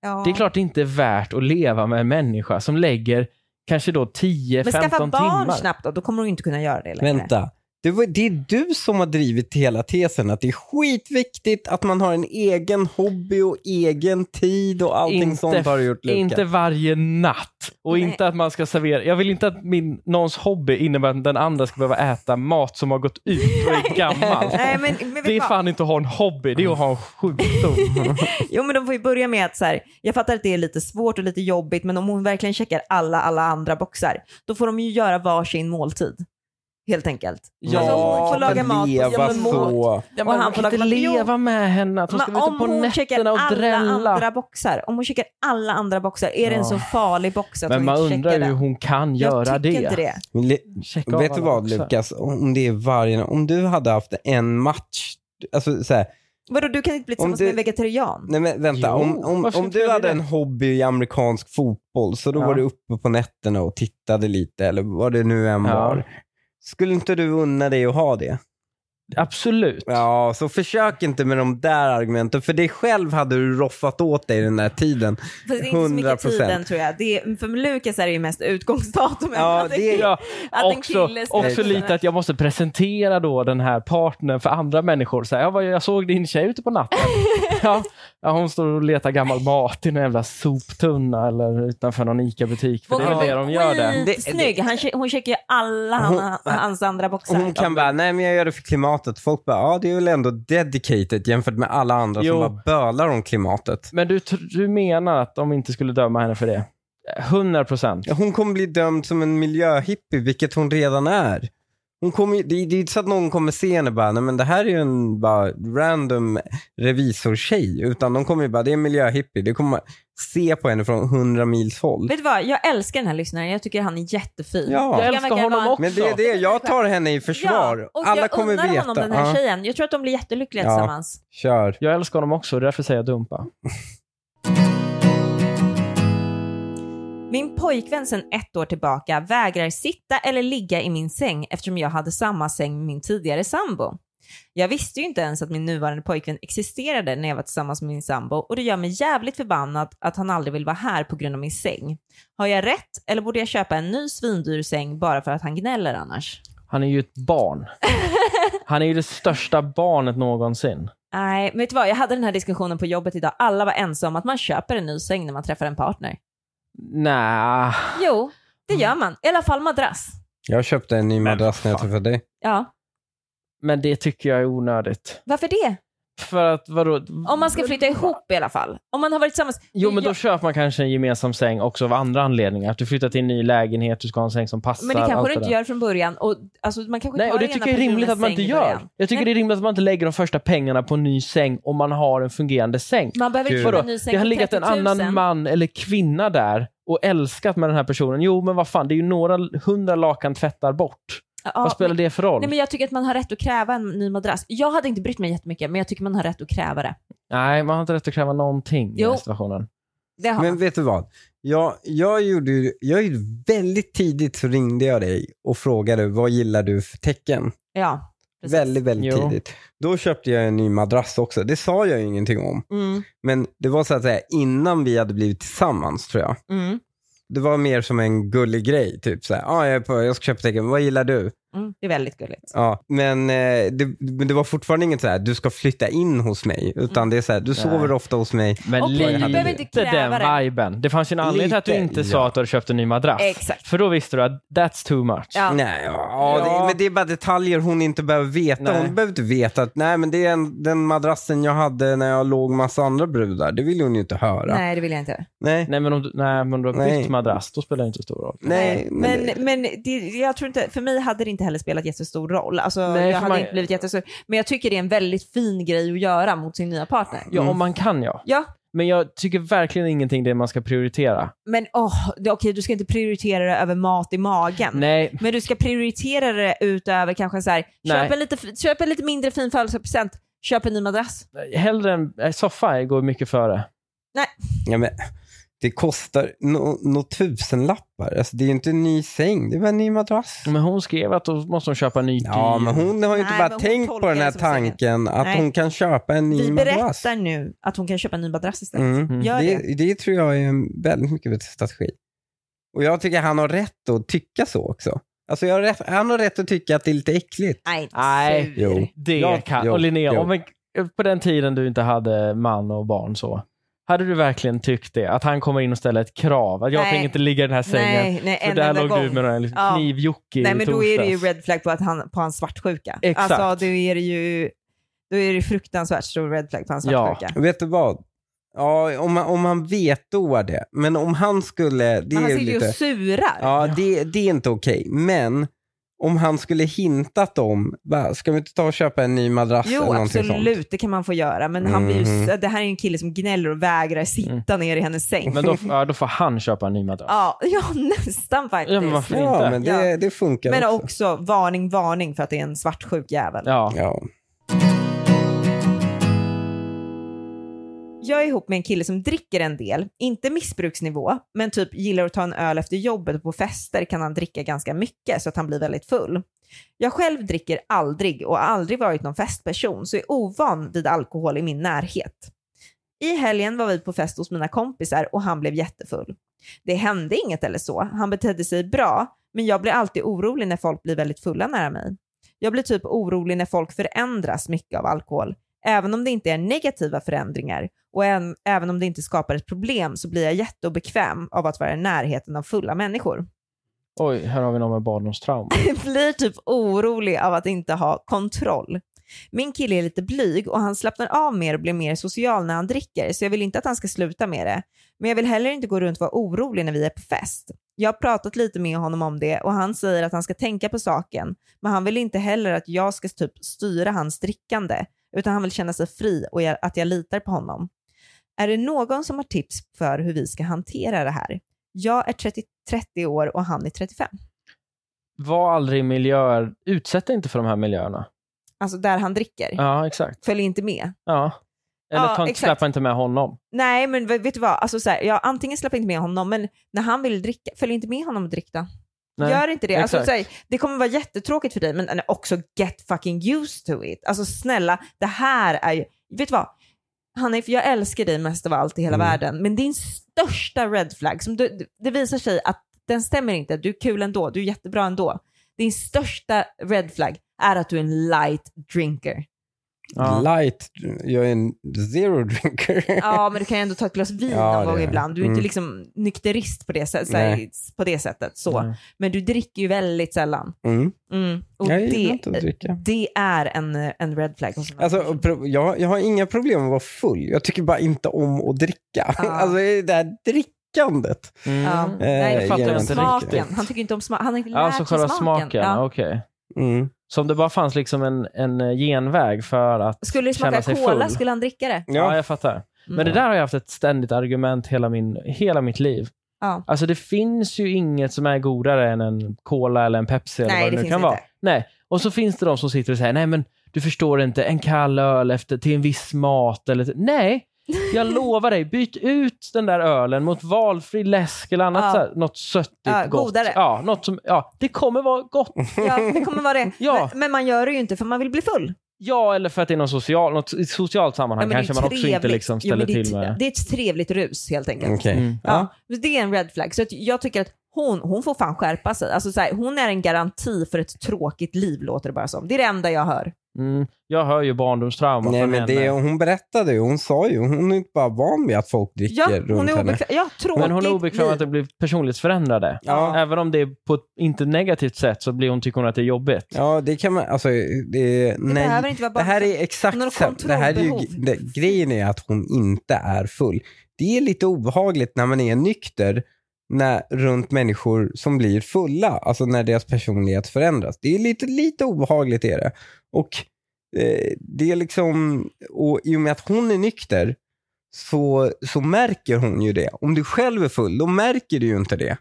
Speaker 1: Ja.
Speaker 3: Det är klart det inte är värt att leva med en människa som lägger kanske då 10-15
Speaker 1: men skaffa barn
Speaker 3: timmar.
Speaker 1: snabbt då, då kommer hon ju inte kunna göra det längre.
Speaker 2: Vänta. Det, var, det är du som har drivit hela tesen att det är skitviktigt att man har en egen hobby och egen tid och allting
Speaker 3: Inte-
Speaker 2: sånt har du gjort Luka.
Speaker 3: Inte varje natt. Och
Speaker 1: Nej.
Speaker 3: inte att man ska servera. Jag vill inte att min, någons hobby innebär att den andra ska behöva äta mat som har gått ut och är gammal.
Speaker 1: Nej, men, men vet
Speaker 3: Det är
Speaker 1: du vad?
Speaker 3: fan inte att ha en hobby, det är att ha en sjukdom.
Speaker 1: Jo men de får ju börja med att så här, jag fattar att det är lite svårt och lite jobbigt men om hon verkligen checkar alla, alla andra boxar, då får de ju göra varsin måltid. Helt enkelt.
Speaker 3: Ja,
Speaker 1: alltså hon får
Speaker 2: men
Speaker 1: laga mat på
Speaker 2: leva
Speaker 1: sin måltid.
Speaker 2: så.
Speaker 3: Ja,
Speaker 1: Och
Speaker 3: men
Speaker 1: han
Speaker 3: han
Speaker 1: får
Speaker 3: får inte
Speaker 1: laga- Jo.
Speaker 3: leva med henne, att hon ska
Speaker 1: Men
Speaker 3: vara ute
Speaker 1: om
Speaker 3: på
Speaker 1: hon checkar
Speaker 3: nätterna och
Speaker 1: alla
Speaker 3: drälla.
Speaker 1: andra boxar, om hon checkar alla andra boxar, är det en
Speaker 3: Ja.
Speaker 1: så farlig box att
Speaker 3: Men
Speaker 1: hon
Speaker 3: man
Speaker 1: inte
Speaker 3: undrar
Speaker 1: checkar
Speaker 3: ju hur
Speaker 1: den?
Speaker 3: hon kan göra
Speaker 1: jag tycker
Speaker 3: det.
Speaker 1: inte det.
Speaker 2: Men le-
Speaker 3: Checka av
Speaker 2: Vet du
Speaker 3: alla
Speaker 2: vad
Speaker 3: boxar.
Speaker 2: Lukas, om det är varje om du hade haft en match, alltså så här,
Speaker 1: Vadå, du kan inte bli tillsammans
Speaker 2: du-
Speaker 1: med en vegetarian?
Speaker 2: nej men vänta,
Speaker 3: Jo,
Speaker 2: om, om,
Speaker 3: varför
Speaker 2: om
Speaker 3: skulle
Speaker 2: du
Speaker 3: jag
Speaker 2: hade
Speaker 3: det?
Speaker 2: en hobby i amerikansk fotboll så då
Speaker 3: Ja.
Speaker 2: var du uppe på nätterna och tittade lite eller vad det nu än
Speaker 3: Ja.
Speaker 2: var. Skulle inte du unna dig att ha det?
Speaker 3: Absolut.
Speaker 2: Ja, så försök inte med de där argumenten. För dig själv hade du roffat åt dig den där tiden.
Speaker 1: Fast det är inte så mycket
Speaker 2: 100%.
Speaker 1: tiden tror jag. Det är, för Lukas är det ju mest utgångsdatumet.
Speaker 2: Ja,
Speaker 1: Att
Speaker 2: det är-
Speaker 3: Ja,
Speaker 1: att en
Speaker 3: också,
Speaker 1: kille ska
Speaker 3: också
Speaker 1: kunna-
Speaker 3: lite att jag måste presentera då den här partnern för andra människor. Så här, jag, jag såg din tjej ute på natten. ja, ja, hon står och letar gammal mat i någon jävla soptunna eller utanför någon ICA-butik. För det är det de gör det.
Speaker 2: Det-
Speaker 1: Snygg. Han, che- hon checkar ju alla han,
Speaker 2: Hon-
Speaker 1: hans andra boxar.
Speaker 2: Hon kan bara, nej men jag gör det för klimatet. Folk bara, ja det är väl ändå dedicated jämfört med alla andra
Speaker 3: Jo.
Speaker 2: som bara bölar om klimatet.
Speaker 3: Men du, tr- du menar att de inte skulle döma henne för det? 100 procent.
Speaker 2: Hon kommer bli dömd som en miljöhippie, vilket hon redan är. Hon kommer, ju- det, det är inte så att någon kommer se henne och bara, nej men det här är ju en bara random revisortjej. Utan de kommer ju bara, det är en miljöhippie. Det kommer man se på henne från 100 mils håll.
Speaker 1: Vet du vad, jag älskar den här lyssnaren. Jag tycker han är jättefin.
Speaker 2: Ja.
Speaker 3: Jag
Speaker 1: Jag
Speaker 3: älskar
Speaker 1: verkar
Speaker 3: honom
Speaker 1: vara-
Speaker 3: också.
Speaker 2: Men det är det, jag tar henne i försvar.
Speaker 1: och
Speaker 2: Alla
Speaker 1: jag
Speaker 2: kommer
Speaker 1: unnar
Speaker 2: veta.
Speaker 1: honom den här
Speaker 2: Ja.
Speaker 1: tjejen. Jag tror att de blir jättelyckliga
Speaker 2: Ja.
Speaker 1: tillsammans.
Speaker 2: Kör.
Speaker 3: Jag älskar honom också, därför säger jag dumpa.
Speaker 1: Min pojkvän sedan ett år tillbaka vägrar sitta eller ligga i min säng eftersom jag hade samma säng med min tidigare sambo. Jag visste ju inte ens att min nuvarande pojkvän existerade när jag var tillsammans med min sambo och det gör mig jävligt förbannad att han aldrig vill vara här på grund av min säng. Har jag rätt eller borde jag köpa en ny svindyr säng bara för att han gnäller annars?
Speaker 3: Han är ju ett barn. Han är ju det största barnet någonsin.
Speaker 1: Nej, men vet du vad? Jag hade den här diskussionen på jobbet idag. Alla var ensamma om att man köper en ny säng när man träffar en partner.
Speaker 3: Nej.
Speaker 1: Jo, det gör man. I alla fall madrass.
Speaker 2: Jag köpte en ny
Speaker 3: Men
Speaker 2: madrass när jag
Speaker 3: fan.
Speaker 2: träffade dig.
Speaker 1: Ja,
Speaker 3: Men det tycker jag är onödigt.
Speaker 1: varför det?
Speaker 3: För att vadå?
Speaker 1: Om man ska flytta ihop i alla fall. Om man har varit tillsammans.
Speaker 3: Jo, men då
Speaker 1: Ja,
Speaker 3: köper man kanske en gemensam säng också av andra anledningar. Att du flyttar till en ny lägenhet, du ska ha en säng som passar.
Speaker 1: men det
Speaker 3: allt
Speaker 1: kanske du
Speaker 3: där.
Speaker 1: inte gör från början. Och, alltså, man kanske
Speaker 3: Nej,
Speaker 1: tar
Speaker 3: och det
Speaker 1: ena
Speaker 3: tycker jag är rimligt
Speaker 1: personens
Speaker 3: att man inte
Speaker 1: säng i
Speaker 3: gör.
Speaker 1: början.
Speaker 3: Jag tycker det är rimligt att man inte lägger de första pengarna på en ny säng om man har en fungerande säng.
Speaker 1: Man behöver inte
Speaker 2: Gud.
Speaker 1: köpa
Speaker 3: Vadå?
Speaker 1: en ny säng
Speaker 3: Det har
Speaker 1: för
Speaker 3: legat en
Speaker 1: 30 000.
Speaker 3: annan man eller kvinna där och älskat med den här personen. Jo, men vad fan, det är ju några hundra lakan tvättar bort.
Speaker 1: Ja,
Speaker 3: vad spelar
Speaker 1: men-
Speaker 3: det för roll?
Speaker 1: Nej,
Speaker 3: Nej,
Speaker 1: men jag tycker att man har rätt att kräva en ny madrass. Jag hade inte brytt mig jättemycket, men jag tycker man har rätt att kräva det.
Speaker 3: man har inte rätt att kräva någonting i
Speaker 1: Jo.
Speaker 3: den situationen.
Speaker 1: Det har
Speaker 2: Men
Speaker 1: man.
Speaker 2: vet du vad? Jag, jag, gjorde, ju- jag gjorde väldigt tidigt så ringde jag dig och frågade vad gillar du för tecken?
Speaker 1: Ja, precis.
Speaker 2: Väldigt, väldigt
Speaker 3: Jo.
Speaker 2: tidigt. Då köpte jag en ny madrass också. Det sa jag ju ingenting om.
Speaker 1: Mm,
Speaker 2: Men det var så att säga innan vi hade blivit tillsammans tror jag.
Speaker 1: mm,
Speaker 2: Det var mer som en gullig grej. Typ så här, ah, jag, är på, jag ska köpa tecken, vad gillar du?
Speaker 1: mm. Det är väldigt gulligt.
Speaker 2: Ja, men, eh, det, men det var fortfarande inget så här, du ska flytta in hos mig. Utan det är så här, du
Speaker 3: Nej.
Speaker 2: sover ofta hos mig.
Speaker 3: Men
Speaker 1: Okej,
Speaker 2: du
Speaker 3: lite
Speaker 2: behöver
Speaker 1: inte kräva
Speaker 3: den
Speaker 1: det.
Speaker 3: viben. Det fanns ju en anledning till att du
Speaker 2: Lite,
Speaker 3: inte
Speaker 2: ja.
Speaker 3: sa att du hade köpt en ny madrass.
Speaker 1: Exakt.
Speaker 3: För då visste du att that's too much.
Speaker 1: Ja.
Speaker 2: Nej, ja, ja.
Speaker 3: Ja.
Speaker 2: Det, men det är bara detaljer hon inte behöver veta.
Speaker 3: Nej.
Speaker 2: Hon behöver inte veta att nej, men det är en, den madrassen jag hade när jag låg massa andra brudar. Det vill hon ju inte höra. Nej.
Speaker 1: Nej, det vill jag inte.
Speaker 2: Nej.
Speaker 3: Nej, men om du, nej, men om du har bytt
Speaker 2: Nej.
Speaker 3: madrass, då spelar det inte stor roll.
Speaker 2: men,
Speaker 1: Eh, men, men det, jag tror inte, för mig hade det inte heller spelat jättestor roll. Alltså,
Speaker 3: Nej,
Speaker 1: jag
Speaker 3: för
Speaker 1: hade
Speaker 3: man-
Speaker 1: inte blivit jättestor. Men jag tycker det är en väldigt fin grej att göra mot sin nya partner.
Speaker 3: Ja,
Speaker 2: Mm.
Speaker 3: om man kan ja.
Speaker 1: Ja,
Speaker 3: Men jag tycker verkligen ingenting det man ska prioritera.
Speaker 1: men åh, det- okej, du ska inte prioritera det över mat i magen.
Speaker 3: Nej,
Speaker 1: Men du ska prioritera det utöver kanske så här,
Speaker 3: Nej.
Speaker 1: köp en, lite, f- köp en lite mindre fin födelsedagspresent, köp en ny madrass.
Speaker 3: hellre en eh, soffa går mycket före.
Speaker 2: ja, men, det kostar några no, nå tusenlappar. Alltså, det är ju inte en ny säng, det är bara en ny madrass.
Speaker 3: Men hon skrev att då måste hon köpa en ny
Speaker 2: Ja,
Speaker 3: dyr.
Speaker 2: men hon har ju inte
Speaker 1: Mm. Nej, men
Speaker 2: bara
Speaker 1: hon
Speaker 2: tänkt på
Speaker 1: tolkar
Speaker 2: den här
Speaker 1: det som sängen.
Speaker 2: tanken att
Speaker 1: Nej.
Speaker 2: hon kan köpa en ny
Speaker 1: Vi
Speaker 2: madrass.
Speaker 1: berättar nu att hon kan köpa en ny madrass istället.
Speaker 2: Mm.
Speaker 3: Mm.
Speaker 1: Gör det.
Speaker 2: Det, det tror jag är en väldigt mycket bättre strategi. Och jag tycker han har rätt att tycka så också. Alltså jag har rätt, han har rätt att tycka att det är lite äckligt.
Speaker 1: Nej,
Speaker 3: Nej.
Speaker 1: sur.
Speaker 2: Jo.
Speaker 3: Det
Speaker 2: Ja,
Speaker 3: kan...
Speaker 2: jo,
Speaker 3: och Linnea,
Speaker 2: jo.
Speaker 3: om en- på den tiden du inte hade man och barn så, hade du verkligen tyckt det? Att han kommer in och ställer ett krav? Att jag
Speaker 1: Nej.
Speaker 3: tänker inte ligga i den här sängen.
Speaker 1: Nej, nej,
Speaker 3: för
Speaker 1: en
Speaker 3: där
Speaker 1: enda
Speaker 3: låg
Speaker 1: gång.
Speaker 3: du med den här liksom
Speaker 1: Ja.
Speaker 3: knivjocke
Speaker 1: Nej
Speaker 3: i
Speaker 1: men då är det ju
Speaker 3: torsdags.
Speaker 1: red flag på, att han, på hans svartsjuka.
Speaker 3: Exakt.
Speaker 1: Alltså då är det ju då är det fruktansvärt stor red flag på hans
Speaker 3: Ja.
Speaker 1: svartsjuka.
Speaker 2: Och Vet du vad? Ja, om, man- om han vetoar det. Men om han skulle... Det
Speaker 1: Men han
Speaker 2: är
Speaker 1: sitter ju
Speaker 2: lite,
Speaker 1: och surar.
Speaker 2: ja, det, det är inte okej. Men om han skulle hintat om, bara, ska vi inte ta och köpa en ny madrass eller
Speaker 1: Jo
Speaker 2: någonting sånt? Mhm.
Speaker 1: absolut, det kan man få göra. Men han blir ju, det här är en kille som gnäller och vägrar sitta
Speaker 3: Mm.
Speaker 1: ner i hennes säng.
Speaker 3: Men då, ja, då får han köpa en ny madrass.
Speaker 1: Ja, ja nästan faktiskt.
Speaker 3: Ja, men
Speaker 1: men,
Speaker 3: varför
Speaker 2: Ja,
Speaker 3: inte?
Speaker 2: men det,
Speaker 1: Ja.
Speaker 2: det funkar också.
Speaker 1: också varning, varning för att det är en svartsjuk jävel.
Speaker 3: Ja.
Speaker 2: Ja.
Speaker 1: Jag är ihop med en kille som dricker en del, inte missbruksnivå, men typ gillar att ta en öl efter jobbet och på fester kan han dricka ganska mycket så att han blir väldigt full. Jag själv dricker aldrig och har aldrig varit någon festperson så är ovan vid alkohol i min närhet. I helgen var vi på fest hos mina kompisar och han blev jättefull. Det hände inget eller så, han betedde sig bra, men jag blir alltid orolig när folk blir väldigt fulla nära mig. Jag blir typ orolig när folk förändras mycket av alkohol. Även om det inte är negativa förändringar och än, även om det inte skapar ett problem så blir jag jätteobekväm av att vara i närheten av fulla människor.
Speaker 3: Oj, här har vi någon med barndomstrauma.
Speaker 1: Jag blir typ orolig av att inte ha kontroll. Min kille är lite blyg och han slappnar av mer och blir mer social när han dricker så jag vill inte att han ska sluta med det. Men jag vill heller inte gå runt och vara orolig när vi är på fest. Jag har pratat lite med honom om det och han säger att han ska tänka på saken men han vill inte heller att jag ska typ styra hans drickande utan han vill känna sig fri och jag, att jag litar på honom. Är det någon som har tips för hur vi ska hantera det här? Jag är 30, 30 år och han är 35.
Speaker 3: Var aldrig i miljöer, utsätt dig inte för de här miljöerna.
Speaker 1: Alltså där han dricker.
Speaker 3: Ja, exakt.
Speaker 1: Följ inte med.
Speaker 3: Ja. Eller
Speaker 1: Ja,
Speaker 3: ta inte,
Speaker 1: exakt.
Speaker 3: släppa inte med honom.
Speaker 1: Nej, men v- vet du vad? Alltså, så här, jag antingen släpper inte med honom, men när han vill dricka, följ inte med honom och drick då.
Speaker 3: Nej.
Speaker 1: Gör inte det. Alltså,
Speaker 3: exakt.
Speaker 1: så här, det kommer vara jättetråkigt för dig, men men också get fucking used to it. Alltså snälla, det här är ju... Vet du vad? Hanif, jag älskar dig mest av allt i hela
Speaker 2: Mm.
Speaker 1: världen, men din största red flag, som du, det visar sig att den stämmer inte. Du är kul ändå, du är jättebra ändå. din största red flag är att du är en light drinker.
Speaker 3: Ja.
Speaker 2: Light, jag är en zero drinker.
Speaker 1: Ja, men du kan ju ändå ta ett glas vin
Speaker 2: Ja,
Speaker 1: någon
Speaker 2: det
Speaker 1: gång
Speaker 2: är-
Speaker 1: ibland. Du är inte
Speaker 2: mm.
Speaker 1: liksom nykterist på det, sä- såhär,
Speaker 2: Nej.
Speaker 1: på det sättet. Så.
Speaker 3: Nej.
Speaker 1: Men du dricker ju väldigt sällan.
Speaker 2: Mm.
Speaker 1: Mm. Och
Speaker 2: Jag gillar
Speaker 1: det,
Speaker 2: inte att dricka.
Speaker 1: det är en, eh, en red flag. hos en
Speaker 2: Alltså,
Speaker 1: person.
Speaker 2: och pro- jag, jag har inga problem med att vara full. Jag tycker bara inte om att dricka.
Speaker 1: Ja.
Speaker 2: Alltså det där drickandet.
Speaker 3: Mm.
Speaker 1: Ja. Nej, jag
Speaker 2: Eh,
Speaker 1: fattar
Speaker 3: jag
Speaker 1: om
Speaker 3: inte
Speaker 1: smaken.
Speaker 3: riktigt.
Speaker 1: Han tycker inte om smaken. Han har inte lärt
Speaker 3: Alltså
Speaker 1: sig
Speaker 3: själva
Speaker 1: smaken.
Speaker 3: smaken,
Speaker 1: Ja.
Speaker 3: ja. okej.
Speaker 2: Mm.
Speaker 3: Så om det bara fanns liksom en, en genväg för att...
Speaker 1: Skulle det smaka
Speaker 3: Känna sig
Speaker 1: cola
Speaker 3: full.
Speaker 1: skulle Mm. han dricka det.
Speaker 2: Ja.
Speaker 3: Ja, jag fattar. Men det där har jag haft ett ständigt argument hela, min, hela mitt liv.
Speaker 1: Ja.
Speaker 3: Alltså det finns ju inget som är godare än en cola eller en Pepsi eller
Speaker 1: Nej,
Speaker 3: vad
Speaker 1: det
Speaker 3: det, nu
Speaker 1: finns
Speaker 3: kan
Speaker 1: inte.
Speaker 3: vara. Nej, och så finns det de som sitter och säger, nej men du förstår inte, en kall öl efter, till en viss mat eller... till-" Nej, jag lovar dig, byt ut den där ölen mot valfri läsk eller annat,
Speaker 1: Ja.
Speaker 3: så här, något söttigt
Speaker 1: Ja,
Speaker 3: gott.
Speaker 1: godare.
Speaker 3: Ja, något som, ja, det kommer vara gott.
Speaker 1: Ja, det kommer vara det.
Speaker 3: Ja.
Speaker 1: men, men man gör det ju inte för man vill bli full.
Speaker 3: Ja, eller för att det är någon social, något i ett socialt
Speaker 1: Ja, men
Speaker 3: sammanhang
Speaker 1: det är
Speaker 3: kanske man också
Speaker 1: trevligt.
Speaker 3: inte liksom
Speaker 1: Jo,
Speaker 3: ställer
Speaker 1: men det är
Speaker 3: till
Speaker 1: ett-
Speaker 3: med.
Speaker 1: Det är ett trevligt rus helt enkelt.
Speaker 2: Okej.
Speaker 3: Mm.
Speaker 1: Ja. men Det är en red flag. Så att jag tycker att hon, hon får fan skärpa sig. Alltså, så här, hon är en garanti för ett tråkigt liv låter det bara som. Det är det enda jag hör.
Speaker 3: Mm. Jag hör ju barndomstrauma
Speaker 2: Nej,
Speaker 3: från
Speaker 2: men det,
Speaker 3: henne.
Speaker 2: hon berättade ju, hon sa ju, hon är inte bara van vid att folk dricker
Speaker 1: Ja, hon
Speaker 2: runt
Speaker 1: är
Speaker 2: henne.
Speaker 1: obekväm. Ja, tråkigt
Speaker 3: Men hon är obekväm
Speaker 1: liv.
Speaker 3: att det blir personlighetsförändrade.
Speaker 2: Ja.
Speaker 3: Även om det är på ett inte negativt sätt så blir hon, tycker hon att det är jobbigt.
Speaker 2: Ja, det kan man, alltså, det,
Speaker 1: Det
Speaker 2: nej.
Speaker 1: behöver inte vara
Speaker 2: Det
Speaker 1: bara
Speaker 2: här är exakt
Speaker 1: Något
Speaker 2: samma. Det här är ju,
Speaker 1: kontrollbehov.
Speaker 2: det, grejen är att hon inte är full. Det är lite obehagligt när man är nykter när, runt människor som blir fulla, alltså när deras personlighet förändras. Det är lite, lite obehagligt är det. Och eh, det är liksom, och i och med att hon är nykter så, så märker hon ju det. Om du själv är full, då märker du ju inte det.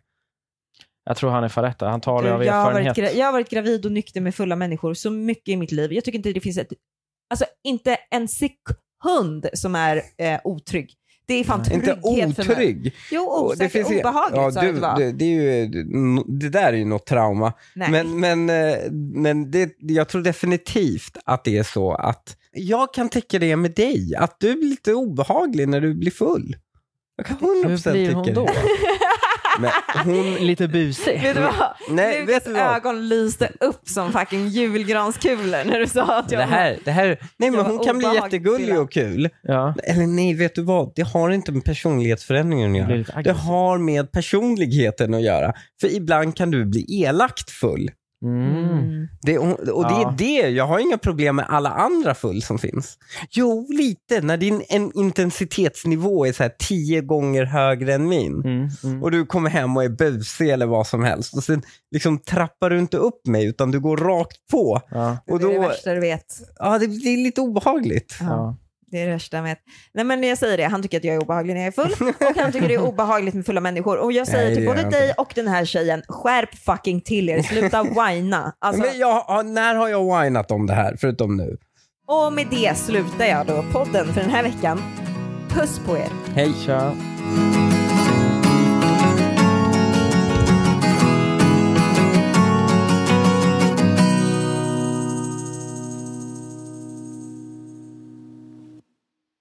Speaker 3: Jag tror han är för rätt. där. Han talar ju av
Speaker 1: jag, har varit,
Speaker 3: erfarenhet.
Speaker 1: gra- jag har varit gravid och nykter med fulla människor så mycket i mitt liv. Jag tycker inte det finns ett, alltså inte en sekund som är eh, otrygg. Det är fan
Speaker 3: Nej.
Speaker 1: trygghet
Speaker 2: Inte
Speaker 1: för mig.
Speaker 2: otrygg.
Speaker 1: Jo,
Speaker 2: Och
Speaker 1: osäkert,
Speaker 2: ju-
Speaker 1: obehagligt
Speaker 2: ja,
Speaker 1: sa jag
Speaker 2: du,
Speaker 1: att det var.
Speaker 2: det, det, är ju, det där är ju något trauma.
Speaker 1: Nej.
Speaker 2: Men, men, eh, men det, jag tror definitivt att det är så att jag kan täcka det med dig, att du blir lite obehaglig när du blir full. Jag kan 100%
Speaker 3: Hur blir hon
Speaker 2: tycka
Speaker 3: då?
Speaker 2: det. Men hon,
Speaker 3: Lite busig.
Speaker 1: Vet du vad?
Speaker 2: nej,
Speaker 1: Lukas
Speaker 2: vet du vad?
Speaker 1: ögon lyste upp som fucking julgranskulor när du sa att jag
Speaker 2: Det här, det här, nej, men
Speaker 1: Jag var
Speaker 2: hon kan bli
Speaker 1: obehaglig,
Speaker 2: jättegullig
Speaker 1: Frida.
Speaker 2: och kul.
Speaker 3: Ja.
Speaker 2: Eller nej, vet du vad? Det har inte med personlighetsförändringen att
Speaker 3: Jag blir
Speaker 2: göra.
Speaker 3: lite
Speaker 2: Det
Speaker 3: aggressiv.
Speaker 2: har med personligheten att göra. För ibland kan du bli elakt full.
Speaker 3: Mm.
Speaker 1: Mm.
Speaker 2: Det, och och det
Speaker 3: Ja.
Speaker 2: är det, jag har inga problem med alla andra full som finns. Jo, lite, när din en intensitetsnivå är så här tio gånger högre än min.
Speaker 3: Mm. Mm.
Speaker 2: Och du kommer hem och är busig eller vad som helst. Och sen liksom trappar du inte upp mig utan du går rakt på.
Speaker 3: Ja.
Speaker 2: Och
Speaker 1: Det är det
Speaker 2: då,
Speaker 1: värsta du vet.
Speaker 2: ja det, det är lite obehagligt.
Speaker 3: Ja.
Speaker 1: Det är det värsta jag vet. Nej men jag säger det, han tycker att jag är obehaglig när jag är full och han tycker det är obehagligt med fulla människor. Och jag säger
Speaker 2: Nej, det
Speaker 1: till
Speaker 2: gör
Speaker 1: både
Speaker 2: jag inte.
Speaker 1: dig och den här tjejen, skärp fucking till er, sluta whina. Alltså,
Speaker 2: Men jag, ja, när har jag whinat om det här, förutom nu?
Speaker 1: Och med det slutar jag då podden för den här veckan. Puss på er!
Speaker 3: Hej. Tja.